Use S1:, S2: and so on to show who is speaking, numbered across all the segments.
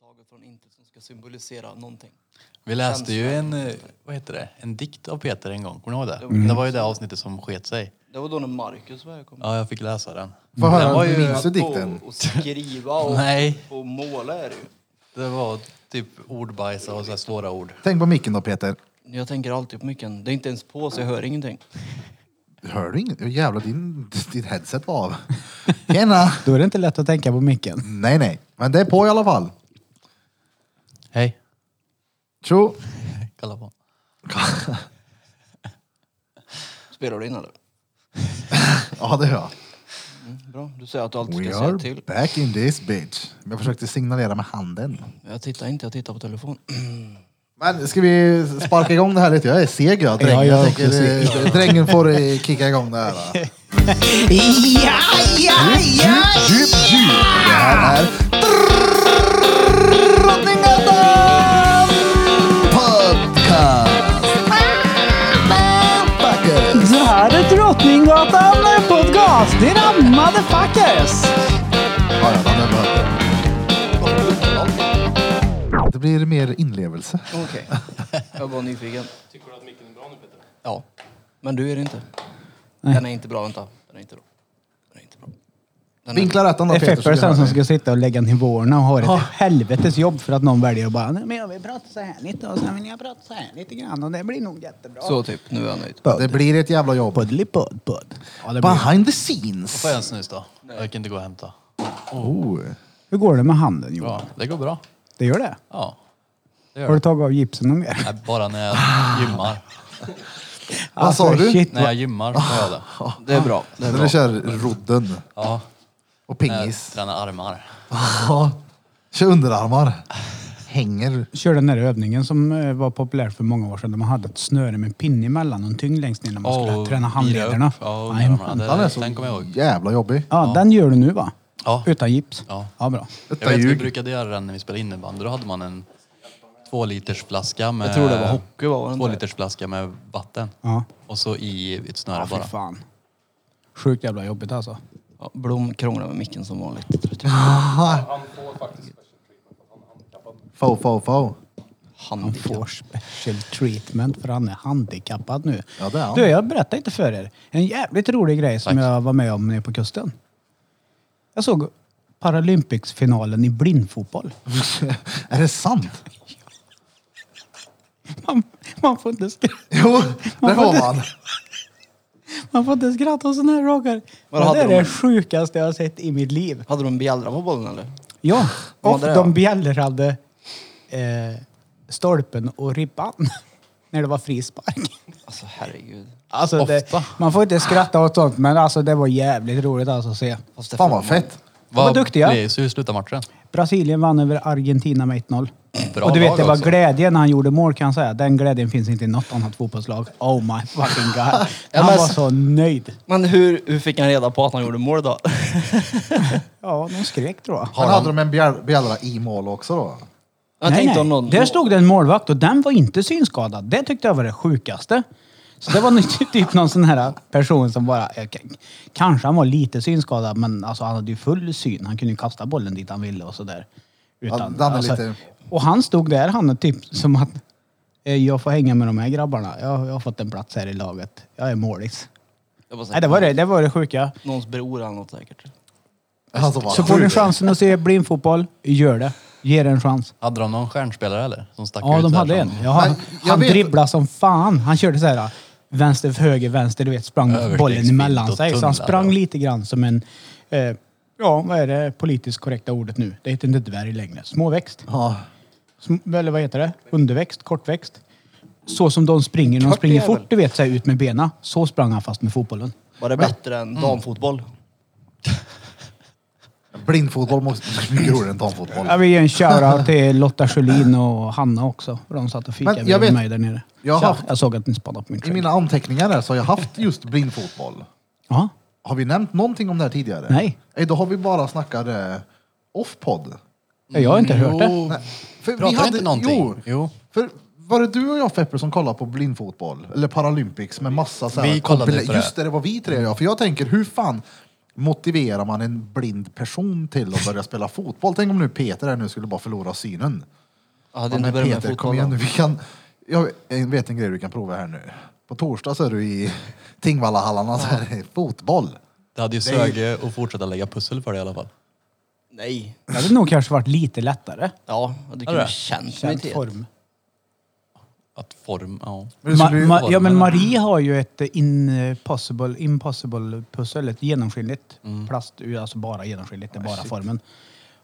S1: taget från intet som ska symbolisera någonting.
S2: Vi läste ju en,
S1: Känslan.
S2: eh, vad heter det, en dikt av Peter en gång. Kommer ni ihåg det?
S1: Det var-
S2: Det var ju det avsnittet som sket sig.
S1: Det var då när Marcus var här kom.
S2: Ja, jag fick läsa den.
S3: Få
S1: Mm.
S3: höra,
S2: den var ju,
S3: minns du dikten?
S1: Och, och skriva och,
S2: Nej.
S1: och måla är det ju.
S2: det var typ ordbajsa och så här svåra ord.
S3: Tänk på micken då Peter.
S1: Jag tänker alltid på micken. Det är inte ens på så jag hör ingenting.
S3: Hör du inget? Oh, jävlar, din, ditt headset var av. Tjena!
S4: Då är det inte lätt att tänka på micken.
S3: Nej, nej. Men det är på i alla fall.
S2: Hej,
S3: Tjo!
S2: kalla på.
S1: Spelar du in eller?
S3: Ja, det är jag.
S1: Bra. Du säger att du alltid ska
S3: We
S1: säga
S3: are
S1: till.
S3: back in this bitch. Jag försökte signalera med handen.
S1: Jag tittar inte, jag tittar på telefon.
S3: Men ska vi sparka igång det här lite? Jag är seg jag, dräng.
S4: Ja, jag
S3: jag
S4: är
S3: tänker,
S4: också seg.
S3: eh, drängen får eh, kicka igång det här. va?
S4: Ja, ja, ja!
S3: Djup, djup. Det här är Drottninggatan Podcast. Motherfuckers.
S4: Det här är Drottninggatan podcast. Det är motherfuckers!
S3: Ja, ja, den är bra. Det blir mer inlevelse.
S1: Okej. Jag var bara nyfiken.
S2: Ja,
S1: Men du är det inte. Den är inte bra, vänta. Den är inte bra. Den är inte bra. Den är-
S3: Vinkla rätt om
S4: Det
S3: då
S4: är
S3: Peter. så vi
S4: Feppers
S3: hör
S4: sen som
S3: dig.
S4: ska sitta och lägga nivåerna och ha ett helvetes jobb för att någon väljer att bara, "Nej, men jag vill prata så här lite och sen vill jag prata så här lite grann och det blir nog jättebra.
S1: Så typ, nu är jag nöjd.
S3: Det blir ett jävla jobb.
S4: Puddelipudd, pudd. Ja, det blir.
S3: Behind the scenes.
S2: får jag en snus då? Jag kan inte gå och hämta.
S3: Oh.
S4: Hur går det med handen Johan?
S2: Bra, det går bra.
S4: Det gör det?
S2: Ja, det gör
S4: Har du
S2: det.
S4: tagit av gipsen någon mer?
S2: Nej, bara när jag gymmar.
S3: Vad sa du?
S4: Alltså, Shit,
S2: När
S4: vad-
S2: jag gymmar så gör jag det.
S1: Det är bra. Det är
S3: När du
S1: bra.
S3: kör rodden
S2: Ja,
S3: och
S2: när jag
S3: pingis.
S2: tränar armar.
S3: Ja. Kör underarmar. Hänger.
S4: Kör den här övningen som eh, var populär för många år sedan där man hade ett snöre med en pinne emellan och en tyngd längst ner när man skulle
S2: Och
S4: träna
S2: vira
S4: handlederna.
S2: upp. Ja,
S4: Jajamän.
S2: underarmarna. Det-
S3: Han är så
S2: Den kommer jag ihåg.
S3: jävla jobbig.
S4: ja, den gör du nu va?
S2: Ja.
S4: Utan gips?
S2: Ja.
S4: bra.
S2: Jag
S3: Detta
S2: vet, vi
S3: ljug.
S2: brukade göra den när vi spelade innebandy. Då hade man en två liters flaska med,
S1: Jag tror det var hockey, var det inte?
S2: två liters flaska med vatten.
S4: Ja.
S2: Och så i ett snöre
S4: Ja, fy
S2: bara.
S4: fan. Sjukt jävla jobbigt alltså.
S1: Ja, Blom krånglar med micken som vanligt.
S3: Fo, fo, fo.
S4: Han
S1: Handikapp.
S4: får special treatment för han är handikappad nu.
S3: Ja, det är han.
S4: Du, jag berättade inte för er. En jävligt rolig grej som
S2: Tack.
S4: jag var med om nere på kusten. Jag såg Paralympics-finalen i blindfotboll.
S3: Är det sant?
S4: Man, man får inte skratta.
S3: Jo, det får man.
S4: Man får inte skratta åt sådana här rockar.
S1: Vad
S4: Det
S1: hade
S4: är
S1: de?
S4: det sjukaste jag har sett i mitt liv.
S1: Hade de bjällra på bollen eller?
S4: Ja,
S1: Ja,
S4: och
S1: det är
S4: de
S1: jag.
S4: bjällrade eh, stolpen och ribban när det var frispark.
S1: Alltså herregud.
S4: Alltså det,
S2: Ofta.
S4: man får inte skratta åt sånt, men alltså det var jävligt roligt alltså att se.
S1: Fast det
S3: Fan
S1: får
S3: vad
S1: man-
S3: fett.
S4: Vad duktiga.
S2: blir- så hur slutar matchen?
S4: Brasilien vann över Argentina med 1-0.
S2: Bra
S4: och du
S2: lag
S4: vet, det var
S2: också.
S4: glädje när han gjorde mål kan jag säga. Den glädjen finns inte i något annat fotbollslag. Oh my fucking god.
S1: men
S4: Han var
S1: alltså-
S4: så nöjd.
S1: Men hur, hur fick han reda på att han gjorde mål då?
S4: Ja, de skrek tror jag.
S3: Men hade de en bjäll- bjällra i mål också då?
S1: Jag
S4: Nej,
S1: tänkte
S4: nej.
S1: om någon...
S4: Där stod det en målvakt och den var inte synskadad. Det tyckte jag var det sjukaste. Så det var nog typ någon sån här person som bara... eh, k- Kanske han var lite synskadad, men alltså han hade ju full syn. Han kunde ju kasta bollen dit han ville och sådär. Utan, alltså,
S3: Ja, den är lite-
S4: Och han stod där, han är typ som att... eh, Jag får hänga med de här grabbarna. Jag, jag har fått en plats här i laget. Jag är målis.
S1: Jag bara så här,
S4: Nej, det var det, det, var det sjuka.
S1: Någons bror eller något säkert.
S3: Alltså, vad
S4: Så får du
S3: sjukt.
S4: chansen att se blindfotboll, gör det. Ge det en chans.
S2: Hade de någon stjärnspelare eller? Som stack
S4: Ja,
S2: ut
S4: de
S2: där
S4: hade en.
S2: som-
S4: Ja, han
S3: Men jag
S4: han
S3: vet-
S4: dribblade som fan. Han körde så här äh, vänster, höger, vänster. Du vet, sprang
S2: Överstegsfint
S4: bollen emellan
S2: och
S4: sig. Så han
S2: tunnlar
S4: sprang
S2: och-
S4: lite grann som en... Eh, ja, vad är det politiskt korrekta ordet nu? Det heter inte dvärg längre. Småväxt.
S3: Ja.
S4: Sm eller vad heter det? Underväxt, kortväxt. Så som de springer. De
S1: Kort
S4: springer
S1: jävel.
S4: fort, du vet, så här, ut med benen. Så sprang han fast med fotbollen.
S1: Var det bättre än damfotboll?
S3: Blindfotboll måste mycket roligare än damfotboll.
S4: Jag vill ge en shoutout till Lotta Schelin och Hanna också. för De satt och
S3: Men
S4: fikade
S3: jag
S4: med
S3: vet-
S4: mig där nere.
S3: jag har
S4: Tja,
S3: haft-
S4: jag såg att ni spanade på min
S3: I
S4: skägg.
S3: mina anteckningar här så har jag haft just blindfotboll.
S4: Ja.
S3: Har vi nämnt någonting om det här tidigare?
S4: Nej.
S3: Nej, då har vi bara snackat eh, off-podd.
S4: Jag har inte hört det.
S2: Jo,
S3: Nej, För
S2: Pratar vi inte någonting?
S3: Jo,
S2: Jo.
S3: För var det du och jag Feppe som kollade på blindfotboll? Eller Paralympics med massa så här
S2: Vi kollade
S3: kompile-
S2: på det.
S3: Just det, det var vi tre ja. För jag tänker, hur fan motiverar man en blind person till att börja spela fotboll? Tänk om nu Peter här nu skulle bara förlora synen.
S1: Jag hade
S3: Ja,
S1: inte
S3: men
S1: börjat med
S3: Peter,
S1: fotboll.
S3: kom igen nu.
S1: då.
S3: Vi kan, jag vet en grej du kan prova här nu. På torsdag så är du i Tingvallahallarna så här, är det fotboll.
S2: Det hade ju söge att fortsätta lägga pussel för det i alla fall.
S1: Nej.
S4: Det hade nog kanske varit lite lättare.
S1: Ja, jag hade
S2: Är
S1: kunnat
S2: det?
S1: känt mig
S4: Känd
S1: till det.
S4: form.
S2: Att form, ja.
S3: Men det
S4: Ma
S3: skulle ju-
S4: ma ja, men
S2: formen.
S4: Marie har ju ett eh, impossible, impossible pussel, ett genomskinligt
S3: Mm.
S4: plast, alltså bara genomskinligt, det är bara formen.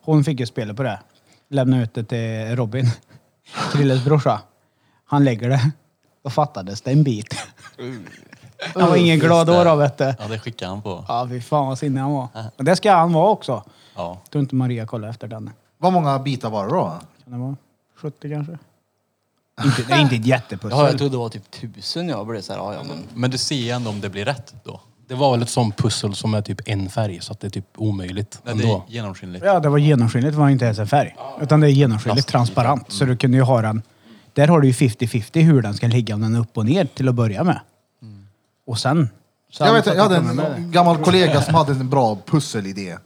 S4: Hon fick ju spela på det. Lämna ut det till Robin, Krilles brorsa. Han lägger det. Då fattades det en bit. Han var ingen
S2: Just
S4: glad
S2: det.
S4: år av det.
S2: Ja, det skickade han på.
S4: Ja, fy fan vad sinnig han var. Och det ska han vara också.
S2: Ja.
S4: Jag tror inte Maria kollade efter den.
S3: Vad många bitar var det då?
S4: Kan det vara 70 kanske? Inte, det är inte ett jättepussel.
S1: Ja, jag trodde det var typ tusen jag blev såhär, ja ja men.
S2: Men du ser ju ändå om det blir rätt då.
S5: Det var väl ett sånt pussel som är typ en färg så att det är typ omöjligt
S2: Nej, det är
S5: ändå.
S2: genomskinligt.
S4: Ja, det var genomskinligt. Det var inte ens en färg. Utan det är
S2: Plast.
S4: genomskinligt, transparent. Så du kunde ju ha den... Där har du ju 50-50 hur den ska ligga, om den är upp och ner till att börja med. Mm. Och sen... sen
S3: Jag, vet, jag hade
S4: med det.
S3: en gammal kollega som hade en bra pusselidé.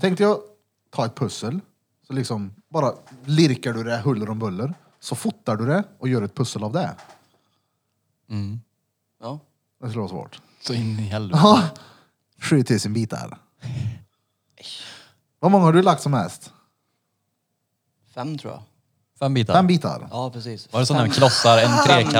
S3: Tänkte jag ta ett pussel, så liksom bara lirkar du det huller om buller, så fotar du det och gör ett pussel av det.
S1: Ja.
S3: Det skulle vara svårt.
S2: Så in i helvete.
S3: Ja, 7000 bitar. Vad många har du lagt som mest?
S1: Fem tror jag.
S2: Fem bitar.
S3: Fem bitar?
S1: Ja precis.
S2: Var det sådana
S1: Fem.
S2: här klossar, en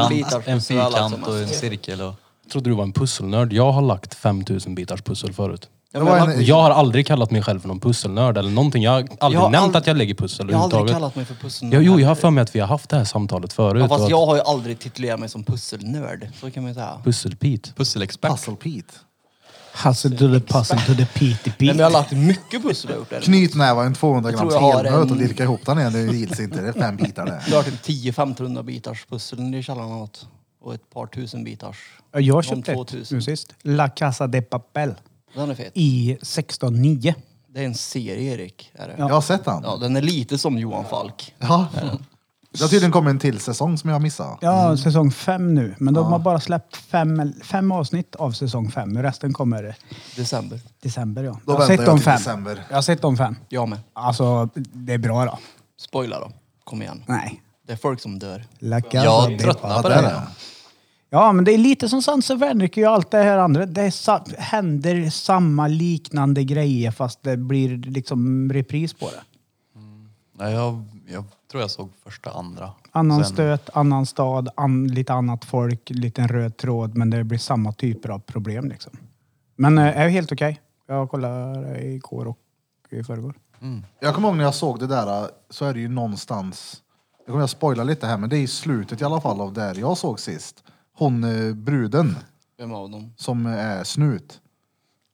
S1: bitar
S2: trekant, en
S1: pussel, alla som
S2: fyrkant
S1: har
S2: och en
S1: sett.
S2: cirkel? Och...
S5: Jag trodde du var en pusselnörd. Jag har lagt 5000 bitars pussel förut.
S1: Ja,
S3: Det
S1: men jag,
S3: var
S1: har-
S5: Och jag har aldrig kallat mig själv för någon pusselnörd eller någonting. Jag har aldrig
S1: Jag har
S5: nämnt
S1: ald-
S5: att jag lägger pussel
S1: jag har aldrig
S5: överhuvudtaget.
S1: kallat mig för pussel.
S5: Ja, jo, jag har för mig att vi har haft det här samtalet förut.
S1: ja, fast
S5: och att-
S1: jag har ju aldrig titulerat mig som pusselnörd. Så kan man ju säga.
S5: Pusselpit.
S2: Pusselexpert.
S3: Puzzle Pete.
S4: Hustle to the puzzle to the peaty
S1: Nej, men jag har
S4: peat.
S1: lagt mycket pussel jag har gjort där.
S3: Knytnäva en 200
S1: Jag tror
S3: grams
S1: jag har
S3: helnöt och
S1: en-
S3: lirka ihop den igen. Det gills inte. Det är fem bitar det.
S1: Jag har typ 10-1500 bitars pussel nere i källaren och något. Och ett par tusen bitars.
S4: Ja, Jag
S1: Någon
S4: köpte ett
S1: 2000.
S4: nu sist. La Casa de Papel.
S1: Den är fet.
S4: I 16.9.
S1: Det är en serie Erik. Är det?
S4: Ja.
S1: Ja.
S3: Jag har sett den.
S1: den är lite som Johan Falk.
S3: Ja. Det har tydligen kommit en till säsong som jag har missat.
S4: Ja, säsong fem nu. Men de har bara släppt fem, fem avsnitt av säsong fem. Resten kommer
S1: December.
S4: december, ja.
S3: Då
S4: jag har
S3: väntar
S4: sett
S3: jag
S4: de
S3: till
S4: fem.
S3: december.
S4: Jag har sett de fem.
S1: Jag med.
S4: Alltså, det är bra då.
S1: Spoila då. Kom igen.
S4: Nej.
S1: Det är folk som dör.
S4: La
S2: Jag
S4: de
S2: tröttnar på
S3: Vad
S2: det.
S3: är
S2: här.
S3: det?
S4: Ja, men det är lite som Sanse Vänryke och allt det här andra. Det är sa händer samma liknande grejer fast det blir liksom repris på det.
S2: Nej, jag, jag tror jag såg första, andra.
S4: Annan
S2: Sen-
S4: stöt, annan stad, an lite annat folk, liten röd tråd, men det blir samma typer av problem liksom. Men eh, är helt okej. Jag kollade igår och i förrgår.
S3: Jag kommer ihåg när jag såg det där så är det ju någonstans, jag kommer jag spoila lite här, men det är i slutet i alla fall av där jag såg sist. Hon eh, bruden
S1: Vem av dem?
S3: som är snut.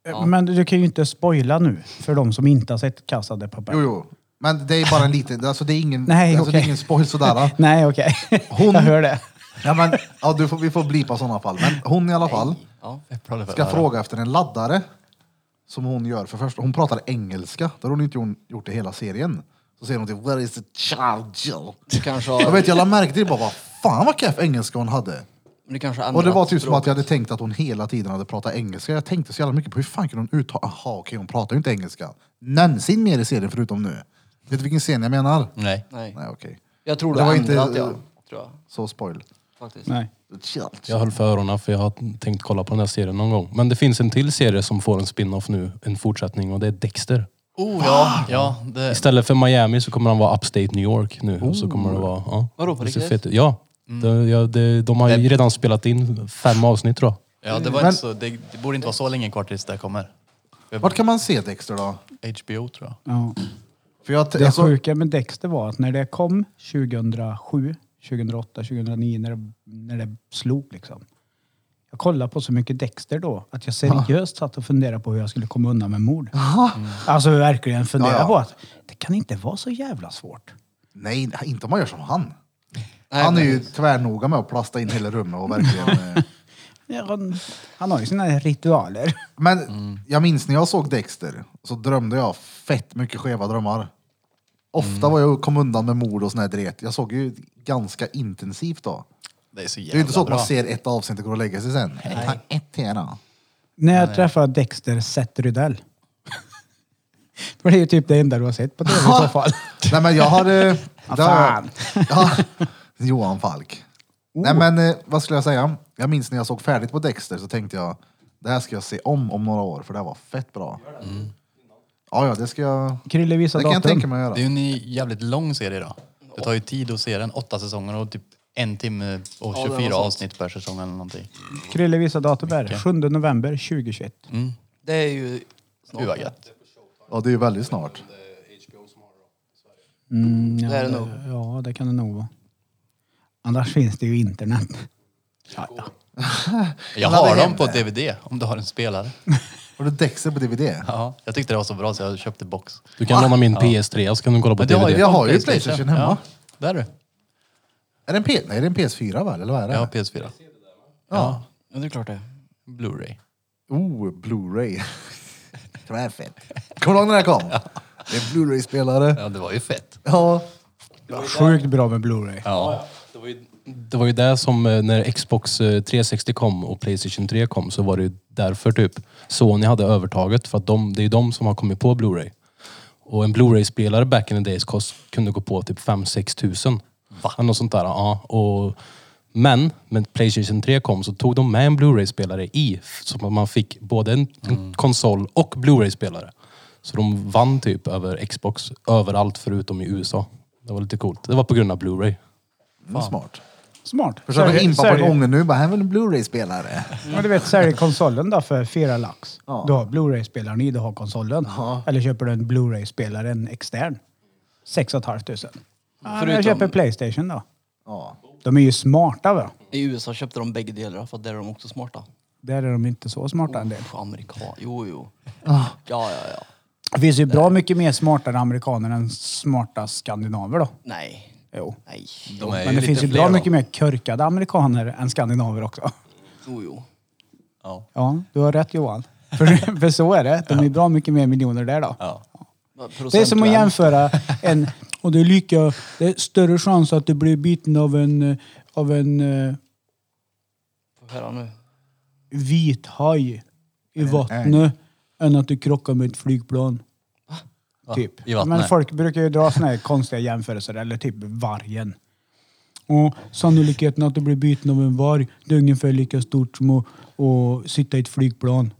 S1: Ja.
S4: Eh, Men du kan ju inte spoila nu för de som inte har sett Casa de Papel.
S3: Jo, jo. Men det är bara en liten, alltså det är ingen,
S4: Nej,
S3: alltså, det
S4: okej.
S3: är ingen spoil sådär.
S4: Nej, okej.
S3: Hon-
S4: Jag hör det.
S3: Ja, men, ja, du får, vi får blipa sådana fall. Men hon i alla fall
S1: Ja.
S2: Pepparade för
S3: ska
S2: det här.
S3: fråga efter en laddare. Som hon gör för första Hon pratar engelska. Det har hon inte gjort- gjort i hela serien. Så säger hon typ “Where is the charger?”
S1: Du kanske
S3: Jag
S1: har...
S3: vet, jag lade märke till det bara, vad fan vad keff engelska hon hade.
S1: Du kanske har
S3: Och det var
S1: ändrat
S3: typ som
S1: språk.
S3: att jag hade tänkt att hon hela tiden hade pratat engelska. Jag tänkte så jävla mycket på hur fan kunde hon uttala... Aha, okej, hon pratar ju inte engelska. Någonsin mer i serien förutom nu. Vet du vilken scen jag menar?
S2: Nej.
S1: Nej.
S3: Nej, okej.
S1: Jag tror det,
S3: Det
S1: det
S3: var
S1: var
S3: inte-
S1: ändrat jag. Tror jag.
S3: Så spoil.
S1: Faktiskt.
S4: Nej.
S5: Jag höll för öronen för jag har tänkt kolla på den här serien någon gång. Men det finns en till serie som får en spin-off nu, en fortsättning och det är Dexter.
S2: Oh ja, ja det,
S5: Istället för Miami så kommer han vara upstate New York nu. Och så kommer det vara... Ja,
S1: Vadå, på
S5: det ser
S1: riktigt?
S5: fett ut. Ja. Det, ja det, de har ju redan spelat in fem avsnitt tror jag.
S2: ja, det, var
S3: Men-
S2: inte så, det, det borde inte vara så länge kvar tills det kommer.
S3: Vart kan man se Dexter då?
S2: HBO tror jag.
S4: Ja.
S3: För jag,
S4: Det
S3: alltså,
S4: sjuka med Dexter var att när det kom 2007, 2008, 2009 när det, när det slog liksom. Jag kollade på så mycket Dexter då att jag seriöst satt och funderade på hur jag skulle komma undan med mord. Alltså verkligen funderade
S3: Ja, ja.
S4: på att det kan inte vara så jävla svårt.
S3: Nej, inte om man gör som han.
S1: Nej,
S3: han är ju
S1: precis.
S3: tvärnoga med att plasta in hela rummet och verkligen... eh,
S4: Ja, Han, han har ju sina ritualer.
S3: Men jag minns när jag såg Dexter så drömde jag fett mycket skeva drömmar. Ofta var jag kom undan med mord och sån här dret. Jag såg ju ganska intensivt då.
S2: Det är så
S3: Det är ju inte så
S2: jävla
S3: att man
S2: bra.
S3: ser ett avsnitt och går och lägger sig sen. Ta ett till då.
S4: När jag träffade Dexter Seth Rydell Det blir ju typ det enda du har sett på tv i så fall.
S3: Nej men jag har... Eh,
S4: Vad
S3: det har-
S4: fan.
S3: ja, Johan Falk.
S2: Oh.
S3: Nej men eh, vad skulle jag säga? Jag minns när jag såg färdigt på Dexter så tänkte jag det här ska jag se om om några år för det här var fett bra. Ja, ja, det ska jag...
S4: Krille
S3: Det
S4: visar
S3: kan jag
S4: datum.
S3: tänka mig att
S2: Det är
S3: göra.
S2: ju en ny- jävligt lång serie då. Det tar ju tid att se den. Åtta säsonger och typ en timme och
S1: Ja, det var
S2: 24
S1: sant.
S2: avsnitt per säsong eller någonting.
S4: Krille visar datum här. 7 november 2021.
S1: Det är ju...
S2: Gud vad gött.
S3: Ja, det är ju väldigt snart.
S4: Mm, ja,
S1: Det är det nog.
S4: Ja, det kan det nog vara. Annars finns det ju internet. Ja, ja.
S2: Jag
S3: Han hade
S2: har dem
S3: hem
S2: på
S3: det.
S2: DVD om du har en spelare.
S3: Har du Dexter på DVD?
S2: Ja, jag tyckte det var så bra så jag köpte box.
S5: Du kan låna min PS3 och så kan du kolla på
S2: Men det har
S5: DVD.
S3: jag
S2: på
S3: har ju PlayStation hemma.
S2: Ja, där du.
S3: Är det en, P- Nej, det är en PS4 väl, eller vad är det?
S2: Jag har PS4.
S3: Ja.
S1: Ja, det är klart det.
S2: Blu-ray.
S3: Oh, Blu-ray. det här är fett. Kommer du ihåg när det kom? Det är Blu-ray-spelare.
S2: Ja, det var ju fett.
S3: Ja.
S4: Sjukt bra med Blu-ray.
S2: Ja.
S5: Det var, ju, det var ju det som eh, när Xbox eh, 360 kom och Playstation 3 kom så var det ju därför typ Sony hade övertaget för att de, det är ju de som har kommit på Blu-ray. Och en Blu-ray-spelare back in the days kost, kunde gå på typ 5-6 tusen. Va? Något sånt där, ja. Och, men när Playstation 3 kom så tog de med en Blu-ray-spelare i. Så att man fick både en en konsol och Blu-ray-spelare. Så de vann typ över Xbox överallt förutom i USA. Det var lite coolt. Det var på grund av Blu-ray.
S3: Mm, smart.
S4: Smart.
S3: Försöker
S4: Sälj-
S3: impa på en
S4: sälj-
S3: ånger nu. Bara, här är väl en Blu-ray-spelare?
S4: Men du vet, sälj konsolen då för fyra lax.
S3: Ja.
S4: Du har Blu-ray-spelaren i, du har konsolen.
S3: Ja.
S4: Eller köper du en Blu-ray-spelare, en extern. sex och ett halvt tusen. Ja, men
S1: Förutom-
S4: Jag köper Playstation då.
S3: Ja.
S4: De är ju smarta va?
S1: I USA köpte de bägge delarna för att där är de också smarta.
S4: Där är de inte så smarta en del.
S1: Usch, Amerika. Jo, jo.
S3: Ah.
S1: Ja, ja, ja.
S4: Det finns ju bra mycket mer smartare amerikaner än smarta skandinaver då.
S1: Nej.
S4: Jo.
S1: Nej.
S2: De är
S4: Men det
S2: lite
S4: finns ju
S2: fler
S4: bra
S2: då.
S4: mycket mer körkade amerikaner än skandinaver också.
S1: Jo, jo.
S2: Ja.
S4: Ja, du har rätt Johan. För, för så är det. De är bra mycket mer miljoner där då.
S2: ja.
S1: Men
S4: Det är som att
S1: procentuellt-
S4: jämföra en... Och det är lika... Det är större chans att du blir biten av en, eh, av en eh,
S1: Får höra nu.
S4: vit haj i vattnet än att du krockar med ett flygplan.
S2: Va?
S4: Typ.
S2: I vattnet?
S4: Men folk brukar ju dra såna här konstiga jämförelser, eller typ vargen. Och sannolikheten att du blir biten av en varg, det är ungefär lika stort som att, att sitta i ett flygplan.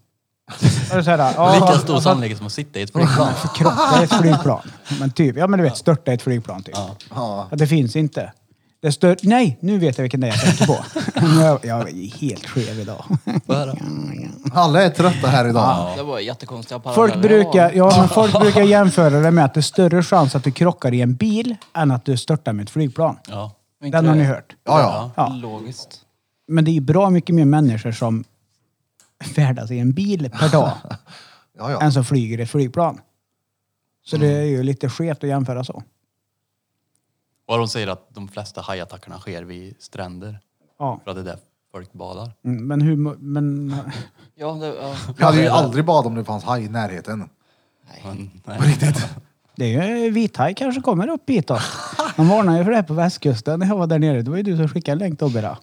S4: Är det så här, ja,
S2: Lika
S4: alltså
S2: stor
S4: att
S2: sannolikhet som att sitta i ett flygplan.
S4: Krocka i ett flygplan. Men typ, ja men du vet, störta i ett flygplan typ.
S3: Ja.
S4: Ja, det finns inte. Det stör... Nej, nu vet jag vilken det är jag tänker på. jag, jag är helt skev idag.
S2: Vad är det?
S3: Alla är trötta här idag.
S1: Det var jättekonstiga
S4: Folk brukar, ja, men folk brukar jämföra det med att det är större chans att du krockar i en bil än att du störtar med ett flygplan.
S2: Ja.
S1: Inte
S4: Den har
S1: det
S4: ni hört.
S3: Ja, ja.
S4: Ja.
S1: Logiskt.
S4: Men det är ju bra mycket mer människor som färdas i en bil per dag
S3: ja, ja.
S4: än som flyger i ett flygplan. Så det är ju lite skevt att jämföra så.
S2: Och de säger att de flesta hajattackerna sker vid stränder.
S4: Ja.
S2: För att det är där folk badar.
S4: Mm, Men hur... mu- Men,
S1: Ja, det, ja.
S3: Jag hade ju aldrig bad om det fanns haj i närheten.
S2: Men,
S3: På
S2: nej.
S3: riktigt.
S4: det är ju vithaj kanske kommer upp hit då. De varnade ju för det här på västkusten när jag var där nere. Det var ju du som skickade en länk Tobbe. då.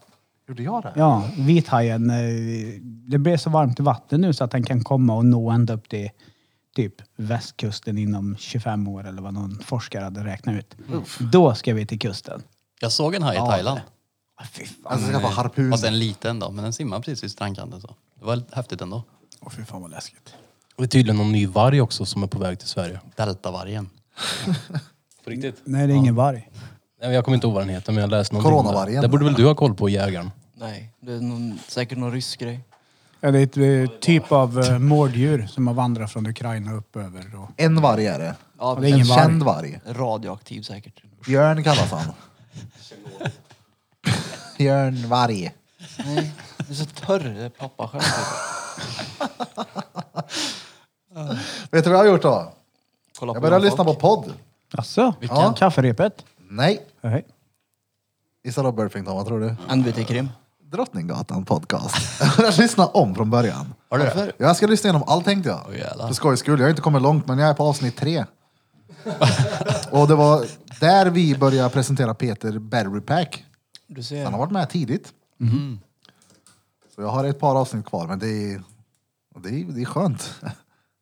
S3: Gjorde jag det?
S4: Ja, vithajen. eh, Det blir så varmt i vatten nu så att den kan komma och nå ända upp till typ västkusten inom 25 år eller vad någon forskare hade räknat ut. Då ska vi till kusten.
S2: Jag såg en haj i Thailand.
S4: Ah, Fy fan,
S3: Alltså skaffa harpun.
S2: Fast en liten då. Men den simmar precis vid strandkanten. Så. Det var lite häftigt ändå.
S4: oh, fy fan vad läskigt.
S5: Och det är tydligen någon ny varg också som är på väg till Sverige.
S2: Deltavargen.
S5: På riktigt?
S4: Nej, det är ingen varg.
S5: Nej, Jag kommer inte ihåg vad den heter men jag läste någonting. om det.
S3: Coronavargen.
S5: Det borde väl du ha koll på jägaren?
S1: Nej, det är någon, säkert någon rysk grej.
S4: Ja, det är ett eh, typ av eh, mårddjur som har vandrat från Ukraina upp över. Och...
S3: En varg är det.
S1: Ja,
S4: det är
S3: En
S4: ingen varg.
S3: känd varg.
S1: Radioaktiv säkert.
S3: Björn kallas han. Björn varg.
S1: Nej, du är så törr. Det är pappa själv.
S3: Vet du vad jag har gjort då?
S1: Kolla
S3: Jag började
S1: någon
S3: lyssna på
S1: folk.
S3: podd.
S4: Jaså?
S3: Ja.
S4: Kafferepet?
S3: Nej.
S4: Nej.
S3: Gissa då Burfington, vad tror du?
S1: NBT-krim.
S3: Drottninggatan podcast. jag lyssnar om från början.
S2: Har du det?
S3: Jag ska lyssna igenom allt tänkte jag.
S2: Åh, jävlar.
S3: För skojs skull. Jag har inte kommit långt men jag är på avsnitt tre. Och det var där vi började presentera Peter Berry Pack.
S1: Du
S3: Han har
S1: ser.
S3: varit med tidigt.
S2: Mm-hmm.
S3: Så jag har ett par avsnitt kvar men det är, och det är, det är skönt.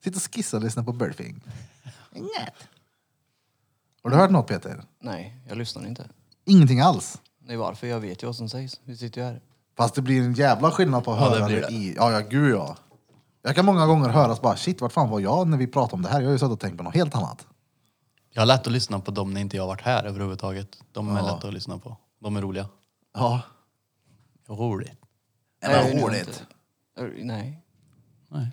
S3: Sitta och skissa och lyssna på Burfing. Har du hört något Peter?
S1: Nej, jag lyssnar inte.
S3: Ingenting alls.
S1: Nej, varför? Jag vet ju vad som sägs. Vi sitter ju här.
S3: Fast det blir en jävla skillnad på att
S2: Ja, det
S3: höra
S2: blir
S3: det
S2: det.
S3: i. Ja, ja, gud ja. Jag kan många gånger höra så bara shit, vart fan var jag när vi pratade om det här? Jag har ju suttit och tänkt på något helt annat.
S2: Jag har lätt att lyssna på dem när inte jag har varit här överhuvudtaget. De är lätta att lyssna på. De är roliga.
S3: Ja.
S2: Roligt.
S1: Nej,
S3: vad
S1: nu
S3: roligt.
S1: inte. Ö, Nej.
S2: Nej.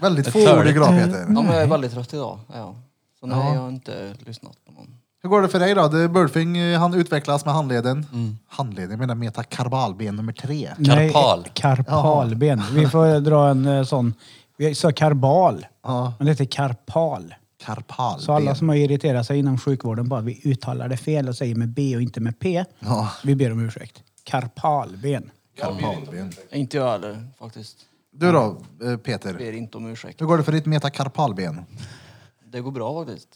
S3: Väldigt
S2: Ett
S3: fåordig
S2: flödigt.
S3: idag Peter.
S4: Mm.
S1: Ja, men jag är väldigt trött idag. Ja. Så nej, jag har inte lyssnat på någon.
S3: Hur går det för dig då? Det är Burfing, eh, han utvecklas med handleden.
S2: Mm.
S3: Handleden, jag menar metakarbalben nummer tre.
S2: Karpal.
S4: Nej, karpalben. Vi får dra en eh, sån. Vi sa karbal,
S3: Ja,
S4: men det heter karpal.
S3: karpalben.
S4: Så alla som har irriterat sig inom sjukvården bara vi uttalar det fel och säger med B och inte med P.
S3: Ja,
S4: Vi ber om ursäkt. Karpalben.
S3: karpalben.
S1: Inte jag heller faktiskt.
S3: Du då eh, Peter?
S1: Ber inte om ursäkt.
S3: Hur går det för ditt metakarpalben?
S1: Det går bra faktiskt.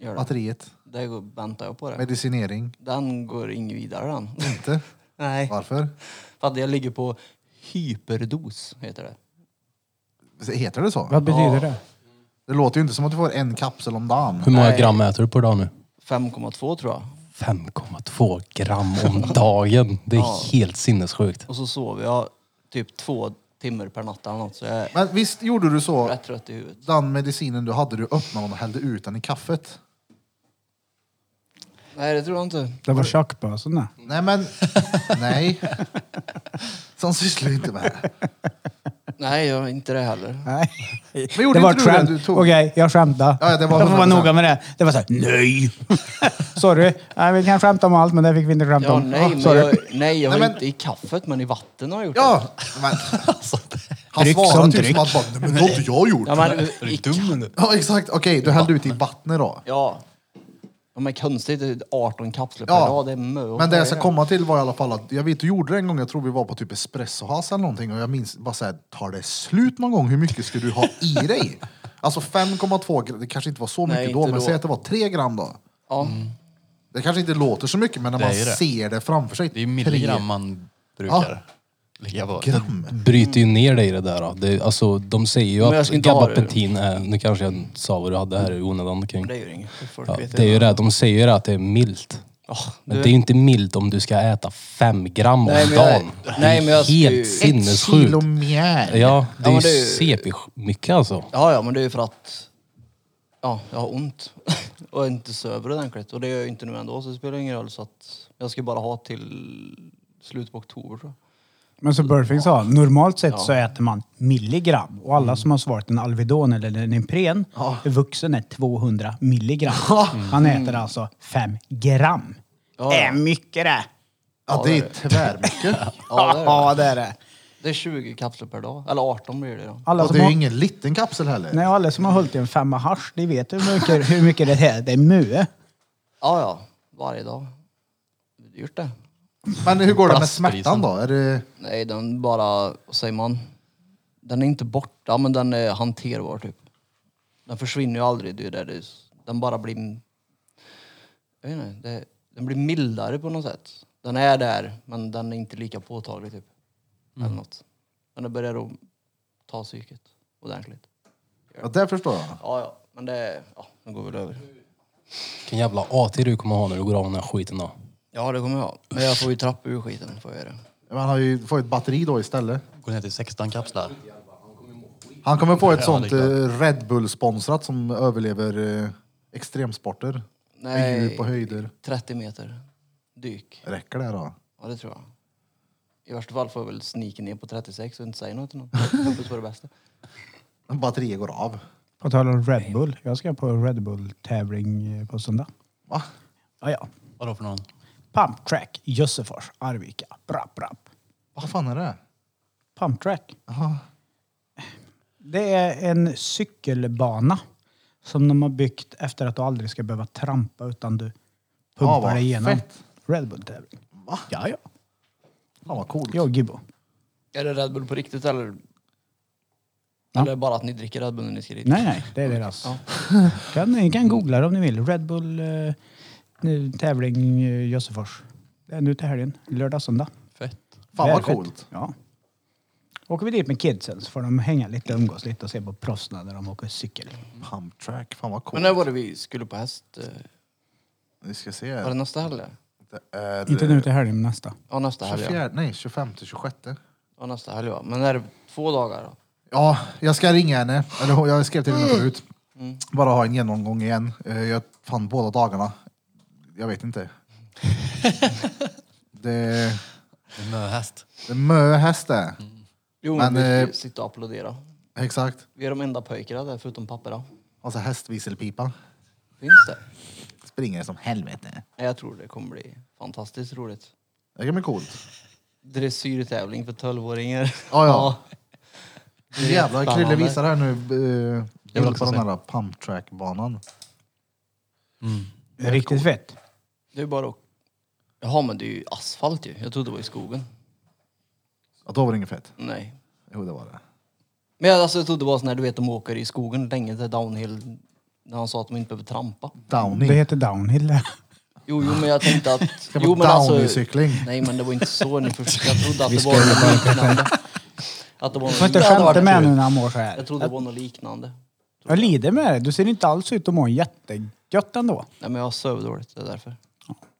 S1: Gör det.
S3: Batteriet?
S1: Det går, väntar jag på det.
S3: Medicinering?
S1: Den går ingen vidare den.
S3: Inte?
S1: Nej.
S3: Varför?
S1: För att jag ligger på hyperdos heter det.
S3: Heter det så?
S4: Vad betyder det?
S3: Det låter ju inte som att du får en kapsel om dagen.
S5: Hur många gram äter du per dag nu?
S1: 5,2 tror jag.
S5: 5,2 gram om dagen. Det är helt sinnessjukt.
S1: Och så sover jag typ två timmar per natt eller något så jag är
S3: Men visst gjorde du så?
S1: rätt trött i huvudet.
S3: Den medicinen du hade, du öppnade den och hällde ut den i kaffet.
S1: Nej det tror jag inte.
S4: Det var tjockbösen det.
S3: Nej men, nej. Sånt sysslar ju inte med det.
S1: Nej jag är inte det heller.
S4: Nej.
S3: Men gjorde
S4: Det var ett
S3: inte du det?
S4: skämt.
S3: Du
S4: Okej,
S3: tog...
S4: jag skämtade.
S3: Ja, det var
S4: jag får vara
S3: 100%.
S4: noga med det. Det var såhär, nej! Sorry. Nej, vi kan skämta om allt, men det fick vi inte skämta
S1: Ja,
S4: om.
S1: nej, men
S4: sorry.
S1: jag, nej jag har
S3: Nej, men-
S1: inte i kaffet men i vatten har jag gjort
S3: Ja! Men, han
S4: Dryck
S3: svarade
S4: som
S3: typ
S4: dryck.
S3: som att bara, "Nej, men det har inte jag gjort.
S1: det. Ja, men, i,
S2: dum
S3: Ja exakt, okej du hällde ut i vattnet då.
S1: ja. ja men konstigt, det är 18 kapslar per
S3: Ja.
S1: dag. Det är mö
S3: Men det jag ska komma till var i alla fall att jag vet du gjorde det en gång, jag tror vi var på typ espressohas eller någonting och jag minns bara såhär, tar det slut någon gång? Hur mycket ska du ha i dig? Alltså 5,2 gram, det kanske inte var så
S1: Nej,
S3: mycket då,
S1: inte
S3: men
S1: då.
S3: säg att det var 3 gram då.
S1: Ja.
S3: Mm. Det kanske inte låter så mycket, men när
S2: Det är
S3: man
S2: ju det.
S3: ser det framför sig.
S2: Det är ju
S3: tre
S2: milligram man brukar ligga på.
S3: Gram.
S5: Bryter ju ner dig i det där. Då. Det, alltså, de säger ju
S1: Men jag
S5: att
S1: ska inte ha det.
S5: gabapentin är... Nu kanske jag sa vad du hade här i onödan kring.
S1: Det gör inget. Folk
S5: Ja,
S1: vet
S5: det är ju det, de säger ju det att det är milt.
S1: Ja,
S5: Men det är ju inte milt om du ska äta fem gram om
S1: Nej, men jag-
S5: dagen.
S1: nej,
S5: det
S1: men
S5: är
S1: jag
S5: helt
S1: skulle ju- Ett
S3: Ett
S5: sinnessjukt.
S3: kilo mjöl.
S5: Ja, det
S1: Ja,
S5: är
S1: men
S5: ju
S1: det är ju-
S5: CP-mycket alltså.
S1: Ja, ja, men det är ju för att ja, jag har ont och inte söver ordentligt. Och det gör jag inte nu ändå, så det spelar ingen roll. Så att jag ska bara ha till slutet på oktober. tror jag.
S4: Men som Burfing sa, normalt sett så äter man milligram. Och alla som har svarat en Alvedon eller en Ipren, vuxen är 200 milligram. Han äter alltså 5 gram. Det är mycket det!
S3: Ja, det Alltså, är tvärmycket.
S1: Ja, det är det.
S4: Ja, det är det.
S1: Det är 20 kapslar per dag, eller 18 blir det då.
S4: Alla
S3: och
S4: som
S3: det är ju
S4: har,
S3: ingen liten kapsel heller.
S4: nej, alla som har hållit i en femma hasch, de vet hur mycket, hur mycket det är. Det är mue.
S1: Ja, ja, varje dag. Det är dyrt det.
S3: Men hur går det med
S2: Plastprisen.
S3: smärtan då? Är det...
S1: Nej, den bara, vad säger man? Den är inte borta, men den är hanterbar typ. Den försvinner ju aldrig, det är ju det det är. Den bara blir... Jag vet inte, det, den blir mildare på något sätt. Den är där, men den är inte lika påtaglig typ. Eller något. Men det börjar då ta psyket ordentligt.
S3: Ja, det förstår jag.
S1: Ja, ja, men det, ja, det går väl över.
S5: Vilken jävla AT du kommer ha när du går av den här skiten då.
S1: Ja, det kommer jag. Men jag får ju trappa ur skiten, får jag göra.
S3: Man har ju, får ju ett batteri då istället.
S2: Går ner till 16 kapslar.
S3: Han kommer på ett
S2: Ja,
S3: sånt
S2: det är
S3: eh, Red Bull-sponsrat som överlever eh, extremsporter. Med djup och höjder.
S1: 30 meter. Dyk.
S3: Räcker det då?
S1: Ja, det tror jag. I värsta fall får jag väl snika ner på 36 och inte säga något till någon. Hoppas på det bästa.
S3: Batteriet går av.
S4: På tal om Red Bull. Jag ska på Red Bull-tävling eh, på söndag.
S3: Va?
S4: Ja, ja.
S2: Vadå för någon?
S4: Pump Track, Jössefors, Arvika. Brapp, brapp.
S3: Vad fan är det?
S4: Pump Track.
S3: Jaha.
S4: Det är en cykelbana som de har byggt efter att du aldrig ska behöva trampa utan du
S3: Ja,
S4: pumpar
S3: vad
S4: dig igenom.
S3: fett.
S4: Red Bull-tävling.
S3: Va?
S4: Ja, ja.
S3: Fan vad coolt.
S4: Jag och Gibbo.
S1: Är det Red Bull på riktigt eller?
S4: Ja.
S1: Eller bara att ni dricker Red Bull när ni ska dit?
S4: Nej, nej, det är deras.
S1: Ja.
S4: Kan, ni kan googla det om ni vill. Red Bull eh, nu, tävling eh, Jössefors. Det är nu till helgen. Lördag, söndag.
S2: Fett.
S3: Fan vad
S4: Väldigt.
S3: coolt.
S4: Ja. åker vi dit med kidsen så får de hänga lite, umgås lite och se på proffsen när de åker cykel.
S3: Pump track, fan vad
S1: Men
S3: coolt.
S1: när var det vi skulle på häst? eh,
S3: Vi ska se.
S1: Var det nästa helg?
S3: Det är...
S4: Inte eh, nu till helgen, men nästa.
S1: Ja, nästa helg. ja.
S3: 24, nej, 25 till 26.
S1: Ja, nästa helg, ja. Men är det två dagar då?
S3: Ja, jag ska ringa henne. Eller hon- jag skrev till
S4: Mm.
S3: henne förut. Bara ha en genomgång igen. Eh, Jag fann båda dagarna. Jag vet inte. det,
S2: En möhäst.
S3: det är mö häst det.
S1: Jo,
S3: Men,
S1: men, vi
S3: eh,
S1: ska sitta och applådera.
S3: Exakt.
S1: Vi är de enda pojkarna där, förutom papporna.
S3: Alltså hästviselpipa.
S1: Finns det?
S3: Springer som helvete.
S1: Nej, Jag tror det kommer bli fantastiskt roligt.
S3: Det kan bli coolt.
S1: Dressyrtävling för 12-åringar.
S3: Ja, ja.
S1: är
S3: Jävlar, Krille
S1: spännande.
S3: visar här nu. eh,
S2: Jag vill
S3: bild
S2: också
S3: på den
S2: se.
S3: här pump track banan.
S4: Det är riktigt fett.
S1: Det är bara att... Jaha, men det är ju asfalt ju. Jag trodde det var i skogen.
S3: Att då var det inget fett.
S1: Nej.
S3: Jo, det var det.
S4: Mm.
S1: Men jag, alltså, jag trodde det var sån här, du vet, de åker i skogen länge, till downhill. När han sa att de inte behöver trampa.
S3: Downing.
S4: Det heter downhill.
S1: Jo, jo, men jag tänkte att...
S3: Ska
S1: jo, alltså-
S3: vara downhill-cykling.
S1: Nej, men det var inte så ni förstod. Jag trodde att det var något liknande. Att det var
S4: Du får
S1: något
S4: inte
S1: liknande.
S4: skämta med nu när han mår så här.
S1: Jag trodde det var något liknande.
S4: Jag lider med dig. Du ser inte alls ut att må jättegött ändå.
S1: Nej, men jag sov dåligt. Det är därför.